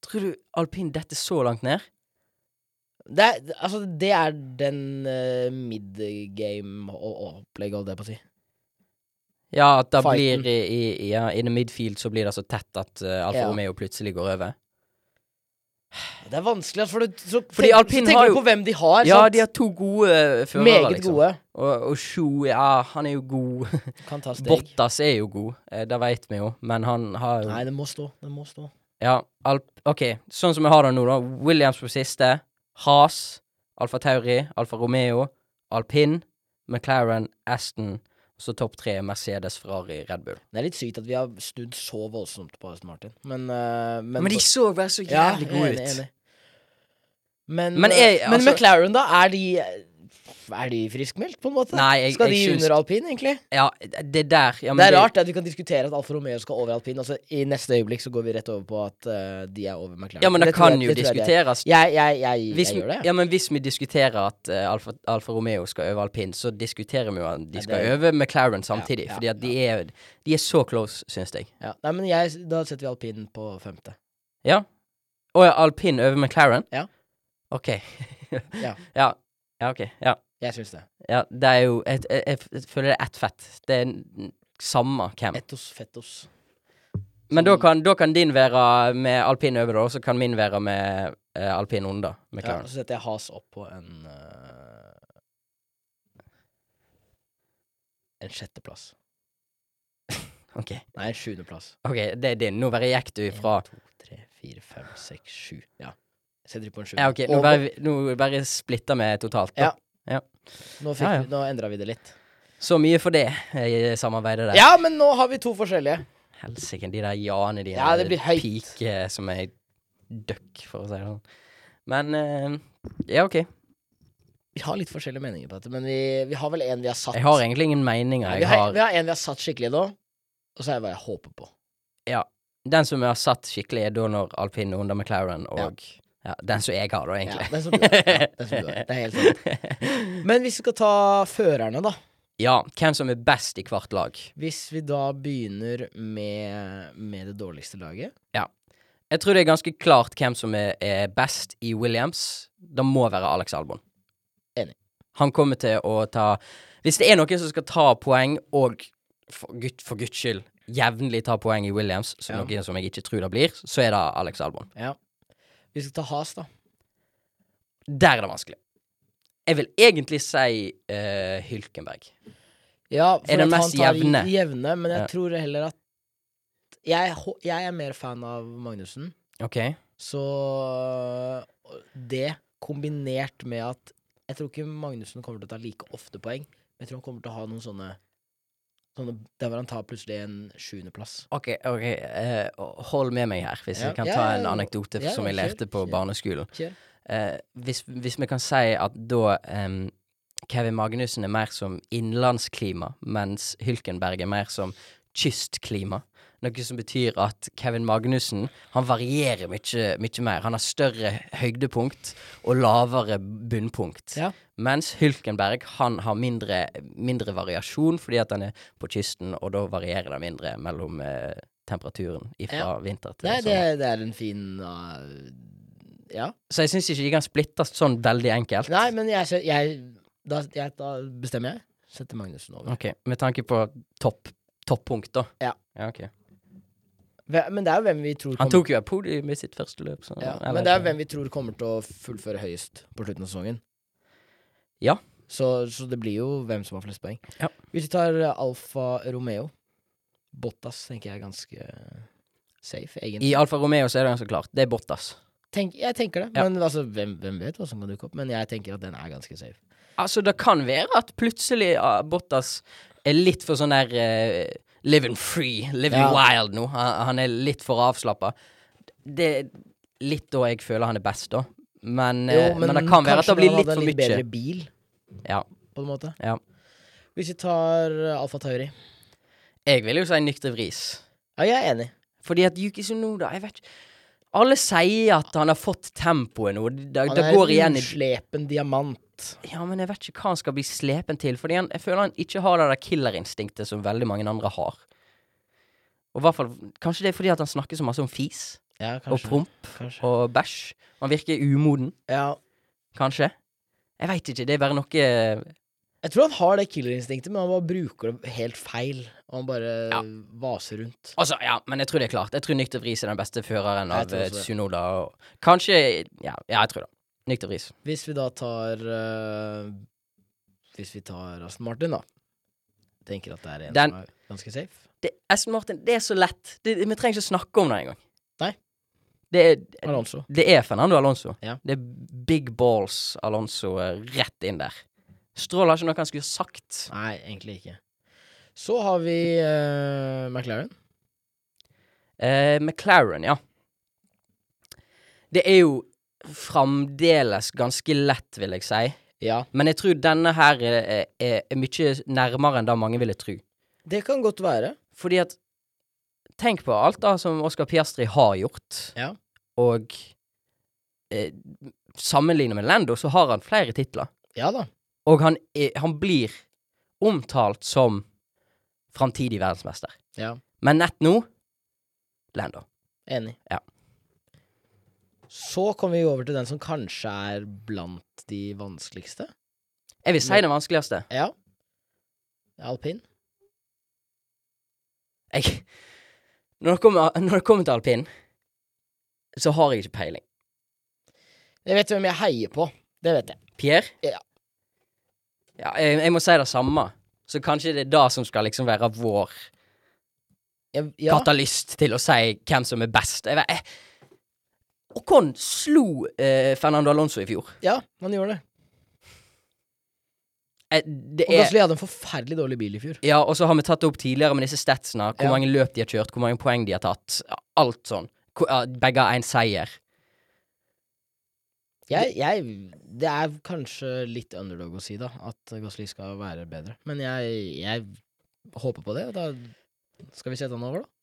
[SPEAKER 4] Tror du alpin detter så langt ned?
[SPEAKER 5] Det er, altså, det er den uh, midgame-opplegget, holdt jeg på å si.
[SPEAKER 4] Ja, at da
[SPEAKER 5] Fighten.
[SPEAKER 4] blir i, i, ja, in the midfield så blir det så tett at eh, Alfa
[SPEAKER 5] Ja.
[SPEAKER 4] Romeo plutselig går over.
[SPEAKER 5] Det er vanskelig, altså, for du, så,
[SPEAKER 4] Fordi
[SPEAKER 5] tenk-
[SPEAKER 4] alpin
[SPEAKER 5] så tenker
[SPEAKER 4] har
[SPEAKER 5] du
[SPEAKER 4] jo-
[SPEAKER 5] på hvem de har.
[SPEAKER 4] Ja,
[SPEAKER 5] sant?
[SPEAKER 4] de har to gode eh, førere,
[SPEAKER 5] Meget
[SPEAKER 4] liksom.
[SPEAKER 5] gode.
[SPEAKER 4] Og, og Shu, ja, han er jo god.
[SPEAKER 5] Kan ta steg.
[SPEAKER 4] Bottas er jo god, eh, det veit vi jo, men han har jo
[SPEAKER 5] Nei, det må stå. Det må stå.
[SPEAKER 4] Ja, Alp... OK, sånn som vi har det nå, da. Williams på siste. Haas. Alfa Tauri. Alfa Romeo. Alpin. McLaren. Aston. Så topp tre Mercedes, Ferrari, Red Bull.
[SPEAKER 5] Det er litt sykt at vi har snudd så voldsomt på Aston Martin, men eh, men,
[SPEAKER 4] så bare så
[SPEAKER 5] Ja, jeg er enig, enig. Men,
[SPEAKER 4] Men
[SPEAKER 5] eh,
[SPEAKER 4] jeg-
[SPEAKER 5] men
[SPEAKER 4] altså-
[SPEAKER 5] McLaren, da? Er de Er de friskmeldt, på en måte?
[SPEAKER 4] Nei, jeg-
[SPEAKER 5] skal de
[SPEAKER 4] jeg syns-
[SPEAKER 5] under alpin, egentlig?
[SPEAKER 4] Ja, det der ja, men
[SPEAKER 5] det er rart at vi kan diskutere at Alfa Romeo skal over alpin, og så i neste øyeblikk så går vi rett over på at eh, de er over McLaren.
[SPEAKER 4] Ja, men det,
[SPEAKER 5] tror
[SPEAKER 4] kan
[SPEAKER 5] jeg-
[SPEAKER 4] jo
[SPEAKER 5] det tror jeg de er.
[SPEAKER 4] diskuteres.
[SPEAKER 5] Jeg, jeg, jeg, jeg,
[SPEAKER 4] Hvis, vi-
[SPEAKER 5] gjør det.
[SPEAKER 4] ja, men hvis vi diskuterer at eh, Alfa, Alfa Romeo skal øve alpin, så diskuterer vi jo at de skal
[SPEAKER 5] det er-
[SPEAKER 4] øve McLaren samtidig.
[SPEAKER 5] ja,
[SPEAKER 4] fordi at de er, de er så close, syns jeg.
[SPEAKER 5] Ja. Nei, men jeg, da setter vi alpin på femte.
[SPEAKER 4] Ja. Å ja, alpin over McLaren?
[SPEAKER 5] Ja.
[SPEAKER 4] OK.
[SPEAKER 5] Ja.
[SPEAKER 4] ja. Ja, OK. Ja.
[SPEAKER 5] Jeg syns det.
[SPEAKER 4] ja. Det er jo et, jeg, jeg, jeg føler det er ett fett. Det er n- samme hvem.
[SPEAKER 5] Ettos fettos.
[SPEAKER 4] Men da kan, da kan din være med alpin over, da, og så kan min være med eh, alpin under.
[SPEAKER 5] Ja,
[SPEAKER 4] McLaren.
[SPEAKER 5] så setter jeg has opp på en eh, En sjetteplass.
[SPEAKER 4] OK.
[SPEAKER 5] Nei, en sjuendeplass.
[SPEAKER 4] Ok, det er din. Nå bare gikk du fra
[SPEAKER 5] En, to, tre, fire, fem, seks, sju. Ja. Jeg setter på en sju.
[SPEAKER 4] Ja, ok, nå
[SPEAKER 5] Og-
[SPEAKER 4] bare, nå bare splitter vi totalt. da.
[SPEAKER 5] Ja. Nå, fikk,
[SPEAKER 4] Ja, ja.
[SPEAKER 5] vi- nå endra vi det litt.
[SPEAKER 4] Så mye for det eh, i samarbeidet der.
[SPEAKER 5] Ja, men nå har vi to forskjellige.
[SPEAKER 4] Helsike, de der ja-ene dine.
[SPEAKER 5] Ja, det blir høyt.
[SPEAKER 4] Pike som ei døkk, for å si det sånn. Men eh, Ja, OK.
[SPEAKER 5] Vi har litt forskjellige meninger på dette, men vi, vi har vel en vi har satt
[SPEAKER 4] Jeg har egentlig ingen meninger.
[SPEAKER 5] Nei, vi,
[SPEAKER 4] Jeg
[SPEAKER 5] har, vi
[SPEAKER 4] har
[SPEAKER 5] har en vi har satt skikkelig nå, og så er det hva jeg håper på.
[SPEAKER 4] Den som jeg har satt skikkelig, er da når alpin er under McLaren, og ja, Den som jeg har, da,
[SPEAKER 5] Ja,
[SPEAKER 4] egentlig.
[SPEAKER 5] den som du har. Ja, den som du har. Det er helt sant. Men hvis vi skal ta førerne, da.
[SPEAKER 4] Ja, hvem som er best i hvert lag.
[SPEAKER 5] Hvis vi da begynner med, med det dårligste laget
[SPEAKER 4] Jeg tror det er ganske klart hvem som er, er best i Williams. Det må være Alex Albon.
[SPEAKER 5] Enig.
[SPEAKER 4] Han kommer til å ta Hvis det er noen som skal ta poeng, og for, gutt, for guds skyld jevnlig ta poeng i Williams, som
[SPEAKER 5] Ja.
[SPEAKER 4] noen som jeg ikke tror det blir, så er det Alex Albon.
[SPEAKER 5] Ja. Vi skal ta Has, da.
[SPEAKER 4] Der er det vanskelig. Jeg vil egentlig si eh, Hylkenberg.
[SPEAKER 5] Ja, for
[SPEAKER 4] Er det
[SPEAKER 5] at
[SPEAKER 4] mest
[SPEAKER 5] han tar
[SPEAKER 4] jevne?
[SPEAKER 5] jevne? Men jeg
[SPEAKER 4] Ja.
[SPEAKER 5] tror heller at jeg, hå- jeg er mer fan av Magnussen,
[SPEAKER 4] OK?
[SPEAKER 5] så det kombinert med at jeg tror ikke Magnussen kommer til å ta like ofte poeng, men jeg tror han kommer til å ha noen sånne, sånne Der hvor han tar plutselig en sjuendeplass.
[SPEAKER 4] Ok, ok, eh, hold med meg her, hvis
[SPEAKER 5] Ja.
[SPEAKER 4] jeg kan
[SPEAKER 5] Ja,
[SPEAKER 4] ta
[SPEAKER 5] ja,
[SPEAKER 4] en
[SPEAKER 5] ja.
[SPEAKER 4] anekdote
[SPEAKER 5] Ja,
[SPEAKER 4] som jeg
[SPEAKER 5] kjør,
[SPEAKER 4] lærte på
[SPEAKER 5] kjør.
[SPEAKER 4] barneskolen.
[SPEAKER 5] Kjør.
[SPEAKER 4] Eh, hvis, hvis vi kan si at da em, Kevin Magnussen er mer som innlandsklima, mens Hylkenberg er mer som kystklima. Noe som betyr at Kevin Magnussen han varierer mye, mye mer. Han har større høydepunkt og lavere bunnpunkt.
[SPEAKER 5] Ja.
[SPEAKER 4] Mens Hylkenberg han har mindre, mindre variasjon fordi at han er på kysten, og da varierer det mindre mellom eh, temperaturen fra
[SPEAKER 5] Ja.
[SPEAKER 4] vinter til
[SPEAKER 5] Nei, det,
[SPEAKER 4] sommer.
[SPEAKER 5] det er en fin uh, Ja.
[SPEAKER 4] Så jeg syns ikke de kan splittes sånn veldig enkelt.
[SPEAKER 5] Nei, men jeg, ser- jeg, da, jeg Da bestemmer jeg. Setter Magnussen over.
[SPEAKER 4] Ok, med tanke på topp, toppunkt da?
[SPEAKER 5] Ja.
[SPEAKER 4] ja ok.
[SPEAKER 5] Hve- Men det er jo hvem vi tror
[SPEAKER 4] Han
[SPEAKER 5] kommer,
[SPEAKER 4] tok jo et podium i sitt første løp. Så
[SPEAKER 5] ja,
[SPEAKER 4] jeg
[SPEAKER 5] men
[SPEAKER 4] vet
[SPEAKER 5] det er
[SPEAKER 4] ikke.
[SPEAKER 5] hvem vi tror kommer til å fullføre høyest på slutten av sesongen.
[SPEAKER 4] Ja.
[SPEAKER 5] Så, så det blir jo hvem som har flest poeng.
[SPEAKER 4] Ja.
[SPEAKER 5] Hvis vi tar eh, Alfa Romeo Bottas tenker jeg er ganske eh, safe, egentlig.
[SPEAKER 4] I Alfa Romeo så er det ganske klart. Det er Bottas.
[SPEAKER 5] Tenk, jeg tenker det.
[SPEAKER 4] Ja.
[SPEAKER 5] Men altså, hvem, hvem vet hva som kan dukke opp? Men jeg tenker at den er ganske safe.
[SPEAKER 4] Altså, det kan være at plutselig ah, Bottas er litt for sånn der eh, Living free, living
[SPEAKER 5] Ja.
[SPEAKER 4] wild nå. Han, han er litt for avslappa. Det er litt da jeg føler han er best, da. Men, eh, men, det kan være at
[SPEAKER 5] kanskje
[SPEAKER 4] det blir
[SPEAKER 5] han
[SPEAKER 4] litt
[SPEAKER 5] hadde
[SPEAKER 4] for
[SPEAKER 5] en
[SPEAKER 4] mye.
[SPEAKER 5] Bedre bil,
[SPEAKER 4] Ja,
[SPEAKER 5] på en måte.
[SPEAKER 4] ja.
[SPEAKER 5] Hvis vi tar eh, Alfa Tauri
[SPEAKER 4] Jeg vil jo si nykter vris.
[SPEAKER 5] Ja, jeg er enig.
[SPEAKER 4] Fordi at Yuki Sunoda Jeg vet ikke Alle sier at han har fått tempoet nå. Det, det,
[SPEAKER 5] Han
[SPEAKER 4] det
[SPEAKER 5] er
[SPEAKER 4] går igjen i
[SPEAKER 5] en uslepen diamant.
[SPEAKER 4] Ja, men jeg vet ikke hva han skal bli slepen til, fordi han, jeg føler han ikke har det der killerinstinktet som veldig mange andre har. Og i hvert fall, Kanskje det er fordi at han snakker så masse om fis
[SPEAKER 5] Ja,
[SPEAKER 4] og promp
[SPEAKER 5] kanskje.
[SPEAKER 4] og bæsj. Han virker umoden,
[SPEAKER 5] Ja.
[SPEAKER 4] kanskje. Jeg veit ikke. Det er bare noe
[SPEAKER 5] Jeg tror han har det killerinstinktet, men han bare bruker det helt feil. Og han bare
[SPEAKER 4] Ja.
[SPEAKER 5] vaser rundt.
[SPEAKER 4] Altså, ja, men jeg tror det er klart. Jeg tror Nykter Vris er den beste føreren
[SPEAKER 5] Jeg
[SPEAKER 4] av
[SPEAKER 5] tror
[SPEAKER 4] eh,
[SPEAKER 5] også det.
[SPEAKER 4] Sunoda. Og kanskje Ja, ja jeg tror det. Nykter Vris.
[SPEAKER 5] Hvis vi da tar eh, Hvis vi tar Aston Martin, da. Tenker at det er en
[SPEAKER 4] Den-
[SPEAKER 5] som er ganske safe.
[SPEAKER 4] Det- Aston Martin, det er så lett. Det, vi trenger ikke snakke om det engang.
[SPEAKER 5] Nei.
[SPEAKER 4] Det er
[SPEAKER 5] Alonso.
[SPEAKER 4] Det er Fernando Alonso.
[SPEAKER 5] Ja.
[SPEAKER 4] Det er big balls Alonso eh, rett inn der. Strål har ikke noe han skulle sagt.
[SPEAKER 5] Nei, egentlig ikke. Så har vi eh, McLaren.
[SPEAKER 4] Eh, McLaren, ja. Det er jo fremdeles ganske lett, vil jeg si.
[SPEAKER 5] Ja.
[SPEAKER 4] Men jeg tror denne her eh, er, er mye nærmere enn det mange ville tro.
[SPEAKER 5] Det kan godt være.
[SPEAKER 4] Fordi at Tenk på alt da som Oscar Piastri har gjort,
[SPEAKER 5] Ja.
[SPEAKER 4] og eh, sammenlignet med Lando, så har han flere titler.
[SPEAKER 5] Ja da.
[SPEAKER 4] Og han, er, han blir omtalt som framtidig verdensmester.
[SPEAKER 5] Ja.
[SPEAKER 4] Men nett nå Lando.
[SPEAKER 5] Enig.
[SPEAKER 4] Ja.
[SPEAKER 5] Så kommer vi over til den som kanskje er blant de vanskeligste.
[SPEAKER 4] Jeg vil si det vanskeligste.
[SPEAKER 5] Ja. Alpin.
[SPEAKER 4] Jeg, når, det kommer, når det kommer til alpin, så har jeg ikke peiling.
[SPEAKER 5] Jeg vet hvem jeg heier på. Det vet jeg.
[SPEAKER 4] Pierre?
[SPEAKER 5] Ja.
[SPEAKER 4] Ja, jeg, jeg må si det samme. Så kanskje det er det som skal liksom være vår
[SPEAKER 5] jeg ja,
[SPEAKER 4] katalyst til å si hvem som er best. Jeg, vet- jeg, Ocon slo eh, Fernando Alonso i fjor.
[SPEAKER 5] ja, han gjorde det.
[SPEAKER 4] Jeg, Eh, det
[SPEAKER 5] Og
[SPEAKER 4] er
[SPEAKER 5] Gasly hadde en forferdelig dårlig bil i fjor.
[SPEAKER 4] Ja, og så har vi tatt det opp tidligere med disse statsene. Hvor
[SPEAKER 5] Ja.
[SPEAKER 4] mange løp de har kjørt, hvor mange poeng de har tatt. ja, Alt sånn. Hvor- ja, Begge har én seier.
[SPEAKER 5] Jeg, jeg, det er kanskje litt underdog å si, da, at Gasly skal være bedre. Men jeg, jeg håper på det, og da skal vi sette han over, da.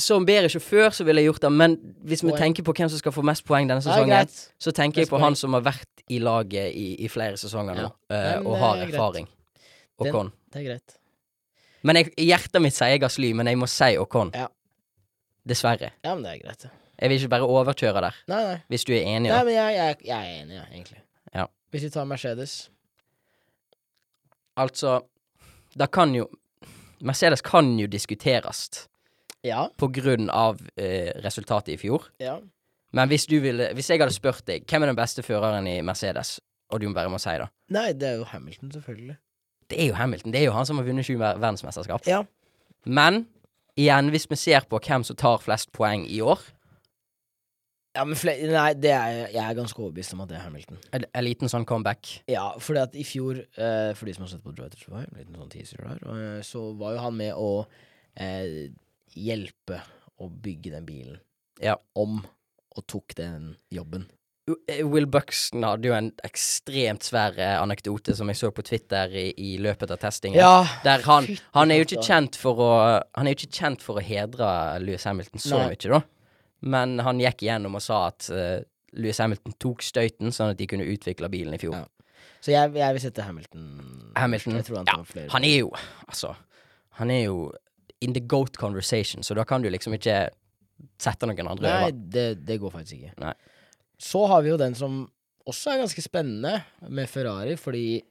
[SPEAKER 4] Som bedre sjåfør så ville jeg gjort det, men hvis vi
[SPEAKER 5] Poeng.
[SPEAKER 4] tenker på hvem som skal få mest poeng denne
[SPEAKER 5] Det er
[SPEAKER 4] sesongen,
[SPEAKER 5] greit.
[SPEAKER 4] så tenker jeg
[SPEAKER 5] Mest
[SPEAKER 4] på
[SPEAKER 5] poeng.
[SPEAKER 4] han som har vært i laget i, i flere sesonger nå, eh,
[SPEAKER 5] men
[SPEAKER 4] og
[SPEAKER 5] det
[SPEAKER 4] har
[SPEAKER 5] er greit.
[SPEAKER 4] erfaring.
[SPEAKER 5] Den-
[SPEAKER 4] Ocon.
[SPEAKER 5] Det er greit.
[SPEAKER 4] Men jeg, hjertet mitt sier Gasly, men jeg må si Ocon.
[SPEAKER 5] Ja.
[SPEAKER 4] Dessverre.
[SPEAKER 5] Ja, men det er greit.
[SPEAKER 4] Jeg vil ikke bare overkjøre der,
[SPEAKER 5] Nei, nei.
[SPEAKER 4] hvis du er enig.
[SPEAKER 5] Nei,
[SPEAKER 4] da.
[SPEAKER 5] men jeg, jeg, jeg er enig, jeg, egentlig.
[SPEAKER 4] Ja.
[SPEAKER 5] Hvis vi tar Mercedes
[SPEAKER 4] Altså, da kan jo Mercedes kan jo diskuteres.
[SPEAKER 5] Ja.
[SPEAKER 4] på grunn av eh, resultatet i fjor.
[SPEAKER 5] ja.
[SPEAKER 4] Men hvis, du ville, hvis jeg hadde spurt deg hvem er den beste føreren i Mercedes, og du bare må si det
[SPEAKER 5] Nei, det er jo Hamilton, selvfølgelig.
[SPEAKER 4] Det er jo Hamilton. Det er jo han som har vunnet sju ver- verdensmesterskap.
[SPEAKER 5] Ja.
[SPEAKER 4] Men igjen, hvis vi ser på hvem som tar flest poeng i år
[SPEAKER 5] Ja, men fle Nei, det er, jeg er ganske overbevist om at det er Hamilton.
[SPEAKER 4] En en liten sånn comeback.
[SPEAKER 5] Ja, fordi at i fjor, eh, for de som har sett på Drive to Survive, en liten sånn teaser der, eh, så var jo han med å eh, hjelpe å bygge den bilen
[SPEAKER 4] Ja.
[SPEAKER 5] om, og tok den jobben.
[SPEAKER 4] U- eh, Will Buxton hadde jo en ekstremt svær eh, anekdote som jeg så på Twitter i, i løpet av testingen. Der han,
[SPEAKER 5] Fytti
[SPEAKER 4] han er jo ikke
[SPEAKER 5] katta.
[SPEAKER 4] kjent for å Han er jo ikke kjent for å hedre Louis Hamilton så
[SPEAKER 5] Nei.
[SPEAKER 4] mye, da. Men han gikk igjennom og sa at eh, Louis Hamilton tok støyten, sånn at de kunne utvikle bilen i fjor.
[SPEAKER 5] Ja. Så jeg, jeg vil sette Hamilton.
[SPEAKER 4] Hamilton.
[SPEAKER 5] Jeg tror han
[SPEAKER 4] Ja,
[SPEAKER 5] tar flere.
[SPEAKER 4] Han er jo Altså, han er jo in the goat conversation, så da kan du liksom ikke sette noen andre
[SPEAKER 5] Nei,
[SPEAKER 4] over.
[SPEAKER 5] det, det går faktisk ikke.
[SPEAKER 4] Nei.
[SPEAKER 5] Så har vi jo den som også er ganske spennende med Ferrari, fordi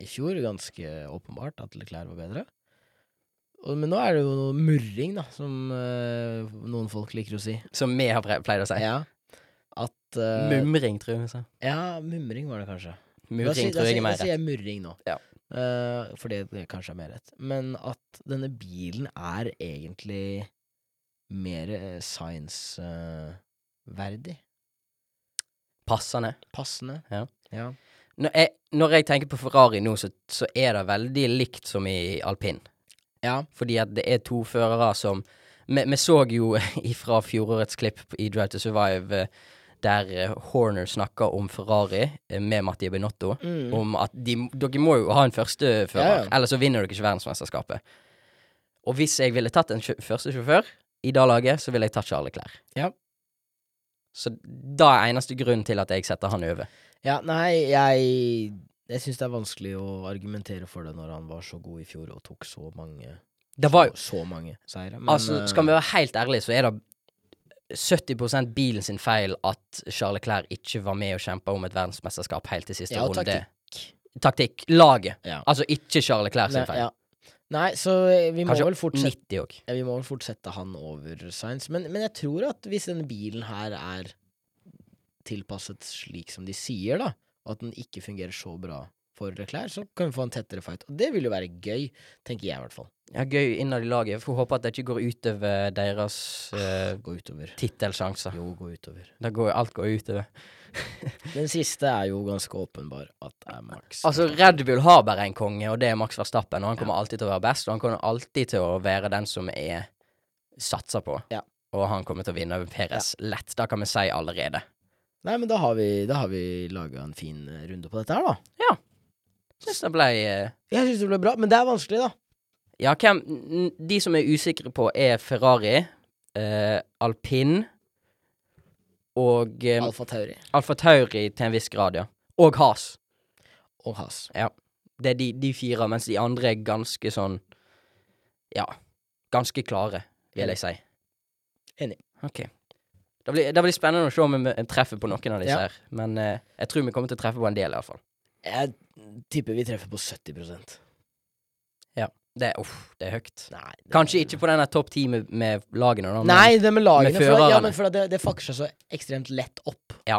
[SPEAKER 5] i fjor ganske åpenbart at Leclerc var bedre. Og, men nå er det jo noe murring, da, som eh, noen folk liker å si.
[SPEAKER 4] Som vi har pre- pleid å si.
[SPEAKER 5] Ja. At eh,
[SPEAKER 4] Mumring, tror jeg hun sa.
[SPEAKER 5] Ja, mumring var det kanskje. Da
[SPEAKER 4] Murring
[SPEAKER 5] sier- da
[SPEAKER 4] tror jeg er
[SPEAKER 5] sier-
[SPEAKER 4] mer
[SPEAKER 5] Da sier
[SPEAKER 4] rett.
[SPEAKER 5] jeg murring nå.
[SPEAKER 4] Ja.
[SPEAKER 5] Eh, fordi det kanskje er mer rett. Men at denne bilen er egentlig mer eh, science-verdig.
[SPEAKER 4] Passende.
[SPEAKER 5] Passende.
[SPEAKER 4] Ja.
[SPEAKER 5] ja.
[SPEAKER 4] Når jeg, når jeg tenker på Ferrari nå, så, så er det veldig likt som i alpin.
[SPEAKER 5] Ja.
[SPEAKER 4] Fordi at det er to førere som Vi vi så jo ifra fjorårets klipp i Drive to Survive eh, der eh, Horner snakka om Ferrari eh, med Mattia Benotto.
[SPEAKER 5] Mm.
[SPEAKER 4] Om at de, dere må jo ha en førstefører,
[SPEAKER 5] Ja, ja.
[SPEAKER 4] ellers så vinner dere ikke verdensmesterskapet. Og hvis jeg ville tatt en sjø- første sjåfør i det laget, så ville jeg tatt Charles Leclerc.
[SPEAKER 5] Ja.
[SPEAKER 4] Så da er eneste grunnen til at jeg setter han over.
[SPEAKER 5] ja, nei, jeg Jeg syns det er vanskelig å argumentere for det når han var så god i fjor og tok så mange
[SPEAKER 4] Det var jo
[SPEAKER 5] så, så mange seire. Men, eh,
[SPEAKER 4] Altså, skal vi være helt ærlige, så er det 70 bilen sin feil at Charles Leclerc ikke var med og kjempa om et verdensmesterskap helt til siste
[SPEAKER 5] Ja, og
[SPEAKER 4] runde.
[SPEAKER 5] taktikk.
[SPEAKER 4] Taktikk. Laget.
[SPEAKER 5] Ja.
[SPEAKER 4] Altså ikke Charles Leclerc sin
[SPEAKER 5] Nei,
[SPEAKER 4] feil.
[SPEAKER 5] ja. nei, så eh, vi må
[SPEAKER 4] Kanskje
[SPEAKER 5] vel fortsette
[SPEAKER 4] 90 òg.
[SPEAKER 5] Ja, vi må vel fortsette han over Science, men, men jeg tror at hvis denne bilen her er tilpasset slik som de sier, da, og at den ikke fungerer så bra for Leclerc, så kan vi få en tettere fight. Og det vil jo være gøy, tenker jeg i hvert fall.
[SPEAKER 4] Ja, gøy innad i laget. Får håpe at det ikke går utover deres uh,
[SPEAKER 5] Gå utover.
[SPEAKER 4] tittelsjanser.
[SPEAKER 5] Jo, gå utover.
[SPEAKER 4] Da går alt går utover.
[SPEAKER 5] Den siste er jo ganske åpenbar at det er Max.
[SPEAKER 4] Altså, Red Bull har bare en konge, og det er Max Verstappen. Og han kommer alltid til å være best, og han kommer alltid til å være den som er satsa på.
[SPEAKER 5] Ja.
[SPEAKER 4] Og han kommer til å vinne over Perez lett. Da kan vi si allerede.
[SPEAKER 5] Nei, men da har vi, da har vi laga en fin eh, runde på dette her, da.
[SPEAKER 4] Syns det ble eh,
[SPEAKER 5] Jeg syns det ble bra, men det er vanskelig, da.
[SPEAKER 4] Ja, hvem n- De som er usikre på, er Ferrari, eh, alpin og eh,
[SPEAKER 5] Alfa Tauri
[SPEAKER 4] Alfa Tauri til en viss grad, ja. Og Has.
[SPEAKER 5] og Has.
[SPEAKER 4] Det er de, de fire, mens de andre er ganske sånn Ja, ganske klare, vil jeg si.
[SPEAKER 5] Enig.
[SPEAKER 4] OK. Det blir, det blir spennende å se om vi eh, treffer på noen av disse
[SPEAKER 5] Ja.
[SPEAKER 4] her. Men eh, jeg tror vi kommer til å treffe på en del, iallfall.
[SPEAKER 5] Jeg tipper vi treffer på 70
[SPEAKER 4] Det, er- uff, det er høyt.
[SPEAKER 5] Nei, det-
[SPEAKER 4] Kanskje ikke på denne topp ti med, med lagene, da. men-
[SPEAKER 5] Nei, det med lagene.
[SPEAKER 4] med
[SPEAKER 5] for, at- ja,
[SPEAKER 4] førerne.
[SPEAKER 5] men for at det, det fucker seg så ekstremt lett opp.
[SPEAKER 4] Ja.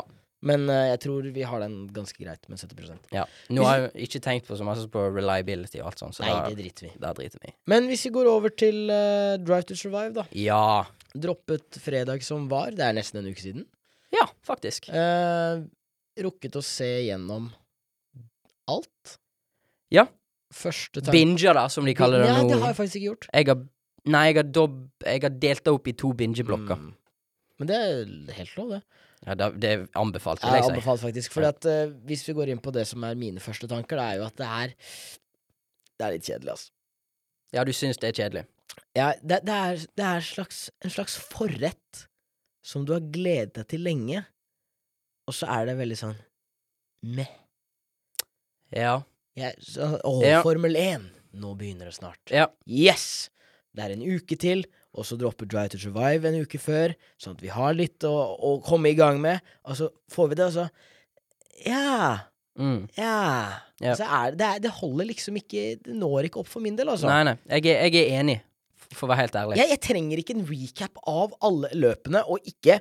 [SPEAKER 5] Men eh, jeg tror vi har den ganske greit med 70
[SPEAKER 4] Ja. Nå har jeg jo ikke tenkt på så masse på reliability og alt sånt, så
[SPEAKER 5] Nei,
[SPEAKER 4] da,
[SPEAKER 5] det driter vi i.
[SPEAKER 4] da driter vi. i.
[SPEAKER 5] Men hvis vi går over til eh, Drive to Survive, da.
[SPEAKER 4] Ja.
[SPEAKER 5] Droppet fredag som var. Det er nesten en uke siden.
[SPEAKER 4] Ja, faktisk.
[SPEAKER 5] Eh, rukket å se gjennom alt.
[SPEAKER 4] Ja.
[SPEAKER 5] Første tanke
[SPEAKER 4] Binger, da, som de kaller det
[SPEAKER 5] ja, det har
[SPEAKER 4] nå.
[SPEAKER 5] jeg faktisk ikke gjort.
[SPEAKER 4] Jeg har Nei, jeg har, dob, jeg har delt det opp i to bingeblokker.
[SPEAKER 5] Mm. Men det er helt lov, det.
[SPEAKER 4] Ja, da- det er anbefalt, vil
[SPEAKER 5] Jeg
[SPEAKER 4] jeg si.
[SPEAKER 5] anbefaler faktisk. Fordi at eh, Hvis vi går inn på det som er mine første tanker, det er jo at det er Det er litt kjedelig, altså.
[SPEAKER 4] Ja, du syns det er kjedelig.
[SPEAKER 5] Ja, det, det er, det er slags, en slags forrett som du har gledet deg til lenge, og så er det veldig sånn meh.
[SPEAKER 4] Ja.
[SPEAKER 5] Jeg, så, å,
[SPEAKER 4] Ja.
[SPEAKER 5] Formel 1! Nå begynner det snart.
[SPEAKER 4] Ja.
[SPEAKER 5] Yes! Det er en uke til, og så dropper Drive to Survive en uke før, sånn at vi har litt å, å komme i gang med, og så får vi det, og så Ja!
[SPEAKER 4] Mm.
[SPEAKER 5] Ja.
[SPEAKER 4] Ja.
[SPEAKER 5] Så er, det- det, er, det holder liksom ikke Det når ikke opp for min del, altså.
[SPEAKER 4] Nei, nei. Jeg er, jeg er enig, f- for å være helt ærlig.
[SPEAKER 5] Jeg, jeg trenger ikke en recap av alle løpene, og ikke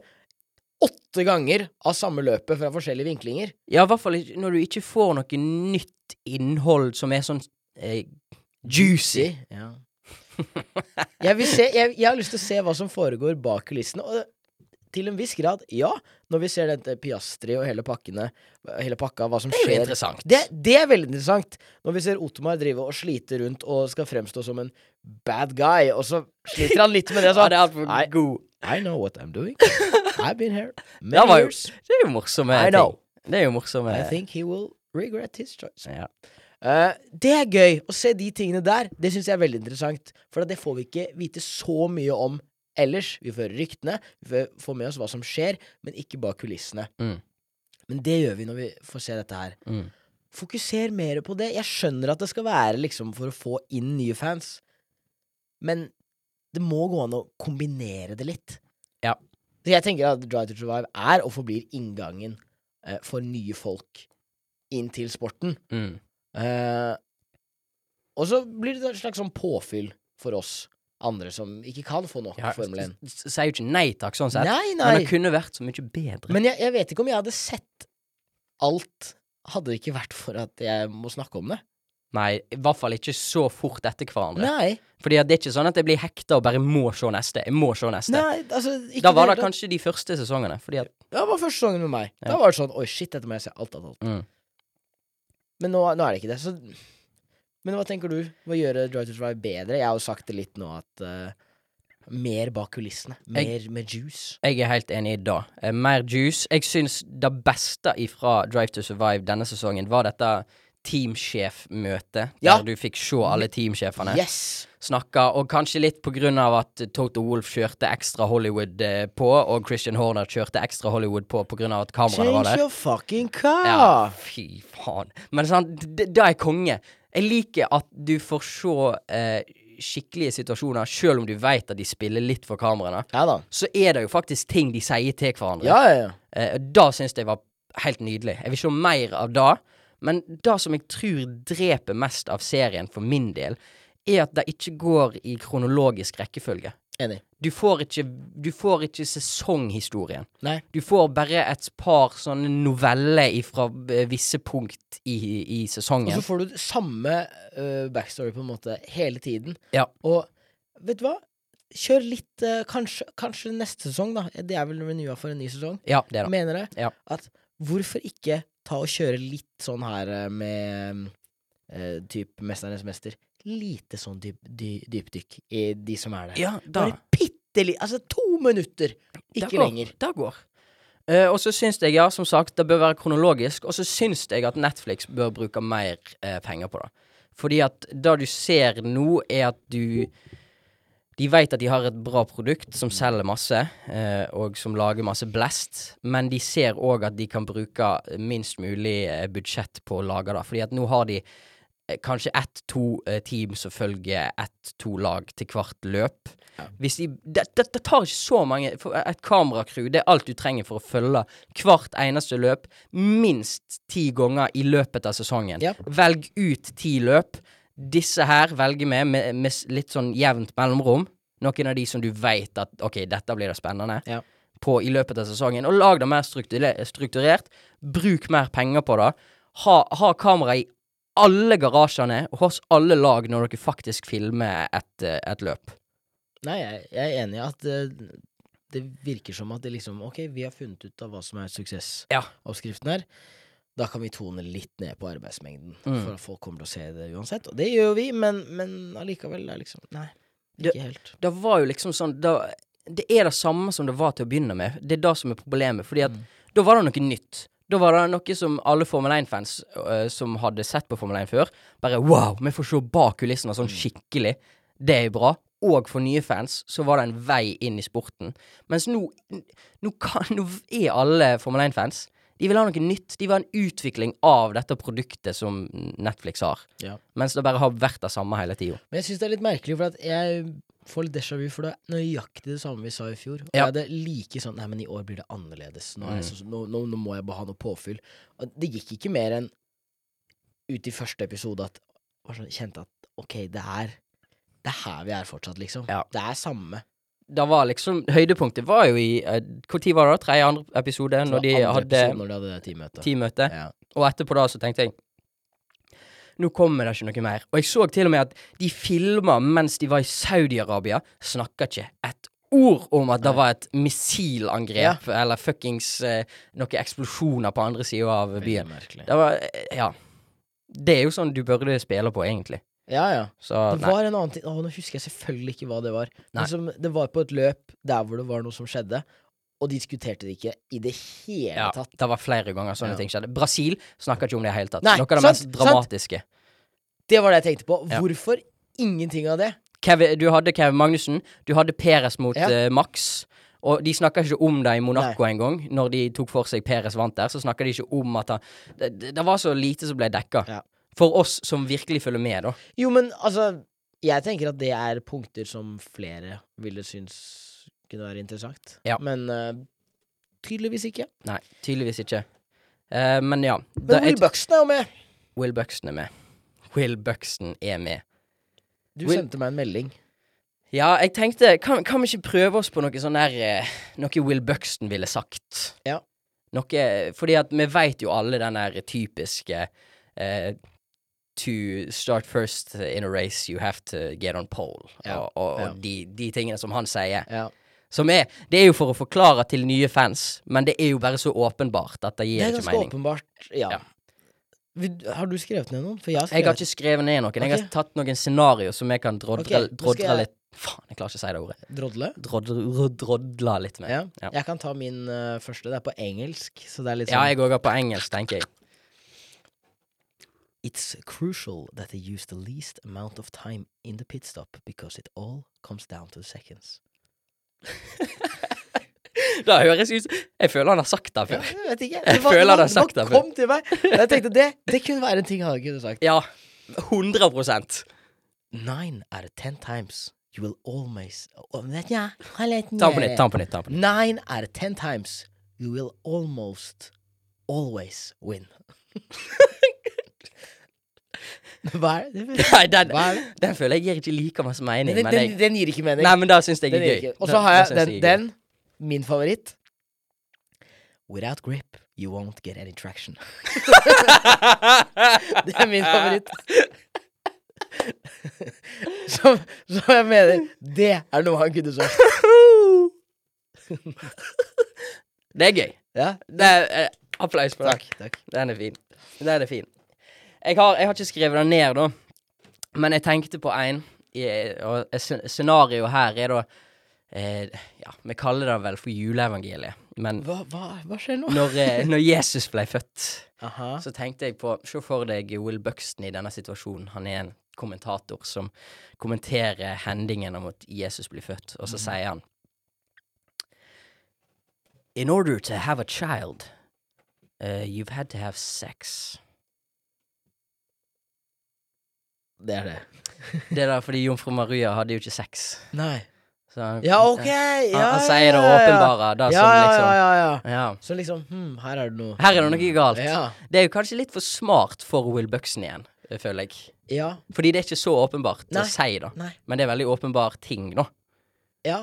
[SPEAKER 5] åtte ganger av samme løpet fra forskjellige vinklinger.
[SPEAKER 4] Ja, i hvert fall ikke- når du ikke får noe nytt innhold som er sånn eh, juicy.
[SPEAKER 5] Ja. jeg, vil se, jeg, jeg har lyst til å se hva som foregår bak kulissene. Og til en viss grad, ja, når vi ser dette Piastri og hele, pakkene, hele pakka, hva som
[SPEAKER 4] Det er jo
[SPEAKER 5] skjer
[SPEAKER 4] interessant.
[SPEAKER 5] Det, det er veldig interessant. Når vi ser Otomar drive og slite rundt og skal fremstå som en bad guy, og så sliter han litt med det.
[SPEAKER 4] ja,
[SPEAKER 5] Så.
[SPEAKER 4] det er altfor
[SPEAKER 5] Nei.
[SPEAKER 4] god.
[SPEAKER 5] I know what I'm doing. I've been here many
[SPEAKER 4] Det var jo-
[SPEAKER 5] years.
[SPEAKER 4] Det er jo morsomme
[SPEAKER 5] I know.
[SPEAKER 4] ting. Det er jo morsomme
[SPEAKER 5] I think he will regret his choice.
[SPEAKER 4] ja.
[SPEAKER 5] Eh, det er gøy å se de tingene der. Det syns jeg er veldig interessant. For det får vi ikke vite så mye om ellers. Vi får høre ryktene, vi får- får med oss hva som skjer, men ikke bak kulissene.
[SPEAKER 4] Mm.
[SPEAKER 5] Men det gjør vi når vi får se dette her.
[SPEAKER 4] Mm.
[SPEAKER 5] Fokuser mer på det. Jeg skjønner at det skal være liksom for å få inn nye fans, men det må gå an å kombinere det litt.
[SPEAKER 4] Ja.
[SPEAKER 5] Så jeg tenker at Drive to Survive er og forblir inngangen eh, for nye folk inn til sporten.
[SPEAKER 4] Mm.
[SPEAKER 5] Eh, og så blir det et slags sånn påfyll for oss andre som ikke kan få nok
[SPEAKER 4] Ja,
[SPEAKER 5] Formel 1.
[SPEAKER 4] s- s- Sier jo ikke nei takk, sånn sett.
[SPEAKER 5] Nei,
[SPEAKER 4] Men det
[SPEAKER 5] nei.
[SPEAKER 4] kunne vært så mye bedre.
[SPEAKER 5] Men jeg, jeg vet ikke om jeg hadde sett alt hadde det ikke vært for at jeg må snakke om det.
[SPEAKER 4] Nei, i hvert fall ikke så fort etter hverandre.
[SPEAKER 5] Nei.
[SPEAKER 4] Fordi at det er ikke sånn at jeg blir hekta og bare må se neste. Jeg må se neste.
[SPEAKER 5] Nei, altså ikke
[SPEAKER 4] da var det
[SPEAKER 5] hele tatt.
[SPEAKER 4] kanskje de første sesongene. Fordi at
[SPEAKER 5] Ja, det var første sesongen med meg. Da
[SPEAKER 4] Ja.
[SPEAKER 5] var det sånn Oi, shit, dette må jeg se alt av alt.
[SPEAKER 4] Mm.
[SPEAKER 5] Men nå, nå er det ikke det. Så Men hva tenker du? Hva gjøre Drive to Drive bedre? Jeg har jo sagt det litt nå, at eh, Mer bak kulissene. Mer med juice.
[SPEAKER 4] jeg er helt enig i da. Eh, Mer juice. Jeg syns det beste ifra Drive to Survive denne sesongen var dette teamsjefmøtet, der
[SPEAKER 5] Ja.
[SPEAKER 4] du fikk se alle teamsjefene
[SPEAKER 5] Yes!
[SPEAKER 4] snakke, og kanskje litt på grunn av at Toto Wolff kjørte ekstra Hollywood eh, på, og Christian Horner kjørte ekstra Hollywood på på grunn av at kameraene var der.
[SPEAKER 5] Change your fucking car!
[SPEAKER 4] Ja, fy faen. Men sant, det, det er konge. Jeg liker at du får se eh, skikkelige situasjoner, selv om du vet at de spiller litt for kameraene.
[SPEAKER 5] Ja da.
[SPEAKER 4] Så er det jo faktisk ting de sier til hverandre.
[SPEAKER 5] Ja, ja, ja.
[SPEAKER 4] Eh, da syns jeg var helt nydelig. Jeg vil se mer av det. Men det som jeg tror dreper mest av serien, for min del, er at det ikke går i kronologisk rekkefølge.
[SPEAKER 5] Enig.
[SPEAKER 4] Du får ikke, du får ikke sesonghistorien.
[SPEAKER 5] Nei.
[SPEAKER 4] Du får bare et par sånne noveller fra visse punkt i, i
[SPEAKER 5] Og
[SPEAKER 4] sesongen.
[SPEAKER 5] så får du samme eh, backstory på en måte hele tiden.
[SPEAKER 4] Ja.
[SPEAKER 5] Og vet du hva? Kjør litt eh, kanskje, kanskje neste sesong, da. Det er vel renua for en ny sesong.
[SPEAKER 4] Ja, det da.
[SPEAKER 5] Mener det.
[SPEAKER 4] Ja.
[SPEAKER 5] At hvorfor ikke ta og kjøre litt sånn her eh, med uh, typ Mesternes mester? Lite sånn dyp, dy, dypdykk i de som er der.
[SPEAKER 4] Ja, da.
[SPEAKER 5] Bare bitte litt. Altså to minutter,
[SPEAKER 4] Det
[SPEAKER 5] ikke
[SPEAKER 4] går.
[SPEAKER 5] lenger.
[SPEAKER 4] Det går. Eh, og så syns jeg, ja, som sagt, det bør være kronologisk, og så syns jeg at Netflix bør bruke mer eh, penger på det. Fordi at det du ser nå, er at du De vet at de har et bra produkt som selger masse, eh, og som lager masse blest, men de ser òg at de kan bruke minst mulig eh, budsjett på å lage det. Fordi at nå har de eh, kanskje ett-to eh, team som følger ett-to lag til hvert løp. Hvis de, det, det, det tar ikke så mange for Et kameracrew det er alt du trenger for å følge hvert eneste løp minst ti ganger i løpet av sesongen.
[SPEAKER 5] Ja.
[SPEAKER 4] Velg ut ti løp. Disse her velger vi med, med s- litt sånn jevnt mellomrom. Noen av de som du vet at OK, dette blir det spennende.
[SPEAKER 5] Ja.
[SPEAKER 4] På i løpet av sesongen. Og lag det mer strukture- strukturert. Bruk mer penger på det. Ha, ha kamera i alle garasjene og hos alle lag når dere faktisk filmer et, eh, et løp.
[SPEAKER 5] Nei, jeg, jeg er enig i at eh, det virker som at det liksom Ok, vi har funnet ut av hva som er
[SPEAKER 4] Ja.
[SPEAKER 5] suksessoppskriften her. Da kan vi tone litt ned på arbeidsmengden,
[SPEAKER 4] Mm.
[SPEAKER 5] for at folk kommer til å se det uansett. Og det gjør jo vi, men, men allikevel er liksom Nei,
[SPEAKER 4] Det-
[SPEAKER 5] ikke helt.
[SPEAKER 4] Det var jo liksom sånn da, Det er det samme som det var til å begynne med. Det er det som er problemet. Fordi at da var det noe nytt. Da var det noe som alle Formel 1-fans øh, som hadde sett på Formel 1 før, bare wow, vi får se bak kulissene sånn skikkelig. Det er bra. Og for nye fans så var det en vei inn i sporten. Mens nå, nå, kan, nå er alle Formel 1-fans. De vil ha noe nytt. De vil ha en utvikling av dette produktet som Netflix har.
[SPEAKER 5] Ja.
[SPEAKER 4] Mens det bare har vært det samme hele tida.
[SPEAKER 5] Men jeg syns det er litt merkelig, for at jeg får litt déjà vu, for det er nøyaktig det samme vi sa i fjor. Og
[SPEAKER 4] Ja. Mm.
[SPEAKER 5] jeg hadde like sånn Nei, men i år blir det annerledes. Nå, er jeg så, nå, nå, nå må jeg bare ha noe påfyll. Og det gikk ikke mer enn ut i første episode at var sånn, kjente at ok, det er det er her vi er fortsatt, liksom.
[SPEAKER 4] Ja.
[SPEAKER 5] Det er samme.
[SPEAKER 4] det var liksom Høydepunktet var jo i eh, Hvor tid var det? da? Tredje andre episode,
[SPEAKER 5] Det var
[SPEAKER 4] når de
[SPEAKER 5] andre
[SPEAKER 4] hadde
[SPEAKER 5] episode når de hadde det teammøtet.
[SPEAKER 4] teammøte.
[SPEAKER 5] Ja.
[SPEAKER 4] Og etterpå da så tenkte jeg Nå kommer det ikke noe mer. Og jeg så til og med at de filma mens de var i Saudi-Arabia, snakka ikke et ord om at det var et missilangrep eller fuckings eh, noen eksplosjoner på andre sida av
[SPEAKER 5] Veldig
[SPEAKER 4] byen.
[SPEAKER 5] merkelig.
[SPEAKER 4] Det var eh, Ja. Det er jo sånn du burde spille på, egentlig.
[SPEAKER 5] Ja, ja.
[SPEAKER 4] Så Ah,
[SPEAKER 5] Det
[SPEAKER 4] nei.
[SPEAKER 5] var en annen ting Åh, Nå husker jeg selvfølgelig ikke hva det var.
[SPEAKER 4] Nei.
[SPEAKER 5] Men som, det var på et løp der hvor det var noe som skjedde, og de diskuterte det ikke i det hele
[SPEAKER 4] Ja,
[SPEAKER 5] tatt.
[SPEAKER 4] det var flere ganger sånne
[SPEAKER 5] Ja.
[SPEAKER 4] ting skjedde. Brasil snakka ikke om det i det hele tatt.
[SPEAKER 5] Nei,
[SPEAKER 4] Noe av det
[SPEAKER 5] sant,
[SPEAKER 4] mest
[SPEAKER 5] sant.
[SPEAKER 4] dramatiske.
[SPEAKER 5] Det var det jeg tenkte på.
[SPEAKER 4] Ja.
[SPEAKER 5] Hvorfor ingenting av det?
[SPEAKER 4] Kevin, du hadde Kevin Magnussen, du hadde Peres mot
[SPEAKER 5] Ja.
[SPEAKER 4] eh, Max. Og de snakka ikke om det i Monaco engang, når de tok for seg Peres vant der. Så snakka de ikke om at han det, det- det var så lite som ble dekka.
[SPEAKER 5] Ja.
[SPEAKER 4] For oss som virkelig følger med, da.
[SPEAKER 5] Jo, men altså Jeg tenker at det er punkter som flere ville synes kunne være interessant.
[SPEAKER 4] Ja.
[SPEAKER 5] Men eh, tydeligvis ikke.
[SPEAKER 4] Nei, tydeligvis ikke. Eh, men ja. da-
[SPEAKER 5] Men Will
[SPEAKER 4] jeg-
[SPEAKER 5] Buxton er jo med!
[SPEAKER 4] Will Buxton er med. Will Buxton er med.
[SPEAKER 5] Du
[SPEAKER 4] Will-
[SPEAKER 5] sendte meg en melding.
[SPEAKER 4] Ja, jeg tenkte Kan, kan vi ikke prøve oss på noe sånn der eh, Noe Will Buxton ville sagt?
[SPEAKER 5] Ja.
[SPEAKER 4] Noe Fordi at vi veit jo alle den der typiske eh, To start first in a race, you have to get on pole.
[SPEAKER 5] Ja,
[SPEAKER 4] Og, og,
[SPEAKER 5] ja.
[SPEAKER 4] og de, de tingene som han sier.
[SPEAKER 5] Ja.
[SPEAKER 4] Som er Det er jo for å forklare til nye fans, men det er jo bare så åpenbart at det
[SPEAKER 5] Det
[SPEAKER 4] gir
[SPEAKER 5] er
[SPEAKER 4] ikke
[SPEAKER 5] ganske
[SPEAKER 4] mening.
[SPEAKER 5] åpenbart. Ja.
[SPEAKER 4] Ja.
[SPEAKER 5] Vil- Har du skrevet ned noen? For jeg har skrevet
[SPEAKER 4] Jeg har ikke skrevet ned noen. Jeg har
[SPEAKER 5] Ok.
[SPEAKER 4] tatt noen scenario som jeg kan drodre,
[SPEAKER 5] Ok, da skal
[SPEAKER 4] drodre
[SPEAKER 5] jeg-
[SPEAKER 4] litt Faen, jeg klarer ikke å si det ordet.
[SPEAKER 5] Drodle.
[SPEAKER 4] Drodre, rod- drodla litt med.
[SPEAKER 5] Ja.
[SPEAKER 4] Ja.
[SPEAKER 5] Jeg kan ta min eh, første. Det er på engelsk, så det er litt
[SPEAKER 4] Ja,
[SPEAKER 5] sånn
[SPEAKER 4] jeg òg har på engelsk, tenker jeg.
[SPEAKER 5] It's crucial that they use the least amount of time in the pit stop because it all comes down to seconds.
[SPEAKER 4] Det høres ut Jeg føler han har sagt det før.
[SPEAKER 5] Jeg vet ikke.
[SPEAKER 4] Jeg føler han har sagt det før.
[SPEAKER 5] Kom til meg. Og Jeg tenkte det, det kunne være en ting han kunne sagt.
[SPEAKER 4] Ja. 100
[SPEAKER 5] Nine out of ten times you will always oh, vet jeg, han er litt
[SPEAKER 4] Ta den på nytt.
[SPEAKER 5] nede.
[SPEAKER 4] ta den på nytt, ta den på nytt.
[SPEAKER 5] Nine out of ten times you will almost always win. Hva er det?
[SPEAKER 4] Nei, den,
[SPEAKER 5] Hva er det?
[SPEAKER 4] den føler jeg gir ikke like masse mening,
[SPEAKER 5] Den,
[SPEAKER 4] men
[SPEAKER 5] den,
[SPEAKER 4] jeg
[SPEAKER 5] den gir ikke mening.
[SPEAKER 4] Nei, men da syns jeg
[SPEAKER 5] Den
[SPEAKER 4] er
[SPEAKER 5] gir
[SPEAKER 4] gøy.
[SPEAKER 5] ikke- Og
[SPEAKER 4] Da-
[SPEAKER 5] så har
[SPEAKER 4] da
[SPEAKER 5] jeg
[SPEAKER 4] synes er
[SPEAKER 5] den,
[SPEAKER 4] gøy.
[SPEAKER 5] den, min favoritt. Without grip, you won't get any traction. det er min favoritt. Som, som jeg mener, det er noe han kunne sagt.
[SPEAKER 4] Det er gøy.
[SPEAKER 5] Ja,
[SPEAKER 4] Det er, eh, applaus for den.
[SPEAKER 5] takk, takk.
[SPEAKER 4] Den er fin. Den er fin. Jeg har, jeg har ikke skrevet den ned, da. Men jeg tenkte på en. I- Og scen- scenarioet her er da eh, Ja, vi kaller det vel for juleevangeliet. Men
[SPEAKER 5] Hva, hva, hva skjer nå?
[SPEAKER 4] når, eh, når Jesus ble født,
[SPEAKER 5] Aha.
[SPEAKER 4] så tenkte jeg på Se for deg Will Buxton i denne situasjonen. Han er en kommentator som kommenterer hendingen om at Jesus blir født, og så
[SPEAKER 5] Mm.
[SPEAKER 4] sier han In order to have a child, uh, you've had to have sex.
[SPEAKER 5] Det er det.
[SPEAKER 4] Det er da fordi jomfru Maria hadde jo ikke sex.
[SPEAKER 5] Nei.
[SPEAKER 4] Så han,
[SPEAKER 5] Ja, OK!
[SPEAKER 4] han,
[SPEAKER 5] Ja, ja,
[SPEAKER 4] han sier det
[SPEAKER 5] ja, ja.
[SPEAKER 4] åpenbare, da,
[SPEAKER 5] Ja,
[SPEAKER 4] som
[SPEAKER 5] ja,
[SPEAKER 4] liksom
[SPEAKER 5] ja, ja, ja.
[SPEAKER 4] ja.
[SPEAKER 5] Så liksom hm, her er det noe
[SPEAKER 4] Her er det noe galt.
[SPEAKER 5] Ja.
[SPEAKER 4] Det er jo kanskje litt for smart for Will Buxton igjen, eh, føler jeg.
[SPEAKER 5] ja.
[SPEAKER 4] Fordi det er ikke så åpenbart
[SPEAKER 5] Nei.
[SPEAKER 4] å si, da.
[SPEAKER 5] Nei.
[SPEAKER 4] Men det er veldig åpenbar ting, da.
[SPEAKER 5] Ja.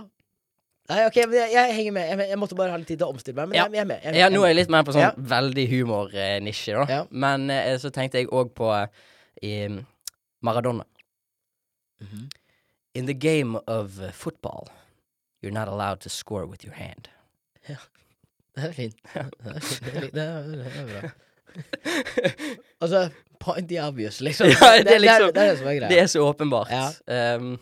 [SPEAKER 5] Nei, OK, men jeg, jeg henger med. Jeg, jeg måtte bare ha litt tid til å omstille meg. Men
[SPEAKER 4] Ja.
[SPEAKER 5] jeg, jeg er med. Jeg,
[SPEAKER 4] Ja, nå er jeg litt mer på sånn
[SPEAKER 5] Ja.
[SPEAKER 4] veldig humornisje, da.
[SPEAKER 5] Ja.
[SPEAKER 4] Men eh, så tenkte jeg òg på eh, i Maradona.
[SPEAKER 5] Mhm.
[SPEAKER 4] In the game of eh, football, you're not allowed to score with your hand.
[SPEAKER 5] Det er fint. Det er, fint. Det er- det er, det er bra. Altså, point the obvious, liksom.
[SPEAKER 4] Ja, det er liksom-
[SPEAKER 5] det, er det som er greia.
[SPEAKER 4] Det er så åpenbart.
[SPEAKER 5] Ja.
[SPEAKER 4] Ehm,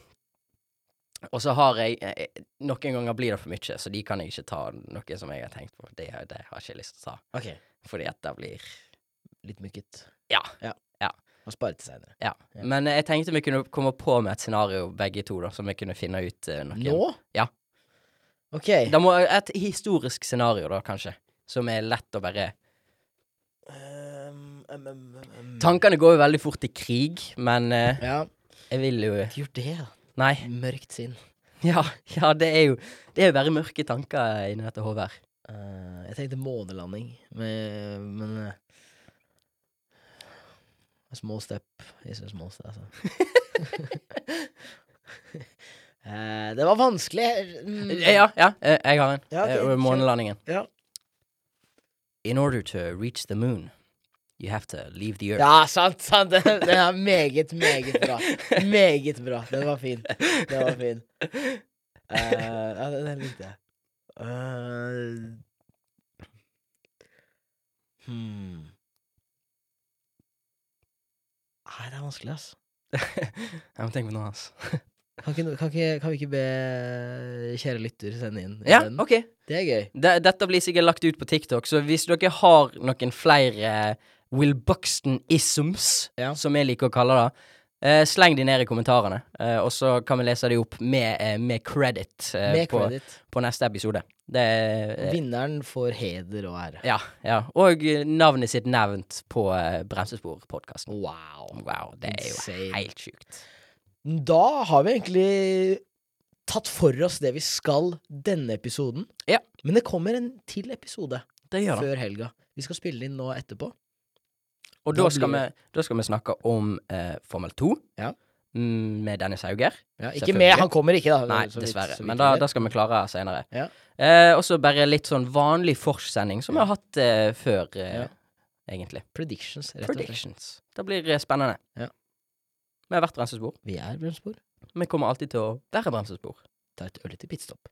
[SPEAKER 4] og så har jeg eh, Noen ganger blir det for mye, så de kan jeg ikke ta noe som jeg har tenkt på. Det, har- det har jeg ikke lyst til å ta.
[SPEAKER 5] Ok,
[SPEAKER 4] Fordi at det blir
[SPEAKER 5] Litt mykket.
[SPEAKER 4] Ja.
[SPEAKER 5] ja.
[SPEAKER 4] Ja.
[SPEAKER 5] Og spare til seinere.
[SPEAKER 4] Ja.
[SPEAKER 5] Ja.
[SPEAKER 4] Men eh, jeg tenkte vi kunne komme på med et scenario, begge to, da, som vi kunne finne ut eh, noe.
[SPEAKER 5] Nå?
[SPEAKER 4] Ja.
[SPEAKER 5] Ok.
[SPEAKER 4] Da må Et historisk scenario, da, kanskje. Som er lett å bare
[SPEAKER 5] Um, um, um, um.
[SPEAKER 4] Tankene går jo veldig fort i krig, men eh,
[SPEAKER 5] Ja.
[SPEAKER 4] jeg vil jo
[SPEAKER 5] Gjør det, da.
[SPEAKER 4] Nei.
[SPEAKER 5] Mørkt sinn.
[SPEAKER 4] Ja, ja det er jo Det er jo bare mørke tanker inni dette hodet her.
[SPEAKER 5] Eh, jeg tenkte månelanding, men, men eh, a Small step is a small step, altså. Eh, det var vanskelig. Mm.
[SPEAKER 4] Ja, ja, eh, jeg har en.
[SPEAKER 5] Ja, ok,
[SPEAKER 4] Eh,
[SPEAKER 5] kjør.
[SPEAKER 4] Månelandingen.
[SPEAKER 5] Ja.
[SPEAKER 4] In order to reach the moon, you have to leave the earth.
[SPEAKER 5] Ja, sant, sant. Den, den er meget, meget bra. Meget bra. Den var fin. Den var fin. Eh, ja, den, den likte jeg. Eh, hmm. Nei, Ah, det er vanskelig, ass.
[SPEAKER 4] Jeg må tenke på noe altså. annet.
[SPEAKER 5] Kan, ikke, kan, ikke, kan vi ikke be kjære lytter sende inn?
[SPEAKER 4] Ja,
[SPEAKER 5] isteden?
[SPEAKER 4] OK.
[SPEAKER 5] Det er gøy.
[SPEAKER 4] De- Dette blir sikkert lagt ut på TikTok, så hvis dere har noen flere Will Buxton-isms,
[SPEAKER 5] Ja.
[SPEAKER 4] som jeg liker å kalle det, eh, sleng de ned i kommentarene, eh, og så kan vi lese de opp med, eh, med credit eh,
[SPEAKER 5] Med
[SPEAKER 4] på,
[SPEAKER 5] credit.
[SPEAKER 4] på neste episode. Det er eh,
[SPEAKER 5] Vinneren får heder og ære.
[SPEAKER 4] Ja, ja. Og eh, navnet sitt nevnt på eh, Bremsespor-podkasten.
[SPEAKER 5] Wow.
[SPEAKER 4] Wow, det er
[SPEAKER 5] Insane.
[SPEAKER 4] jo helt sjukt.
[SPEAKER 5] Da har vi egentlig tatt for oss det vi skal denne episoden.
[SPEAKER 4] Ja.
[SPEAKER 5] Men det kommer en til episode
[SPEAKER 4] Det
[SPEAKER 5] før helga. Vi skal spille inn nå etterpå.
[SPEAKER 4] Og
[SPEAKER 5] Da
[SPEAKER 4] da skal, vi,
[SPEAKER 5] blir-
[SPEAKER 4] da skal vi snakke om eh, Formel 2.
[SPEAKER 5] Ja.
[SPEAKER 4] mm, med Dennis Hauger.
[SPEAKER 5] Ja, ikke
[SPEAKER 4] Selvfølgelig.
[SPEAKER 5] med. Han kommer ikke, da.
[SPEAKER 4] Nei,
[SPEAKER 5] så vidt-
[SPEAKER 4] dessverre.
[SPEAKER 5] så vidt
[SPEAKER 4] Men
[SPEAKER 5] vi
[SPEAKER 4] da,
[SPEAKER 5] vet.
[SPEAKER 4] da skal vi klare seinere.
[SPEAKER 5] Ja.
[SPEAKER 4] Eh, og så bare litt sånn vanlig forsending, som vi har hatt eh, før, eh,
[SPEAKER 5] Ja.
[SPEAKER 4] egentlig.
[SPEAKER 5] Predictions, rett og slett.
[SPEAKER 4] Predictions. Det blir eh, spennende.
[SPEAKER 5] Ja.
[SPEAKER 4] Vi har vært bremsespor.
[SPEAKER 5] Vi er bremsespor.
[SPEAKER 4] Vi kommer alltid til å være bremsespor.
[SPEAKER 5] Det er et ørlite pitstop.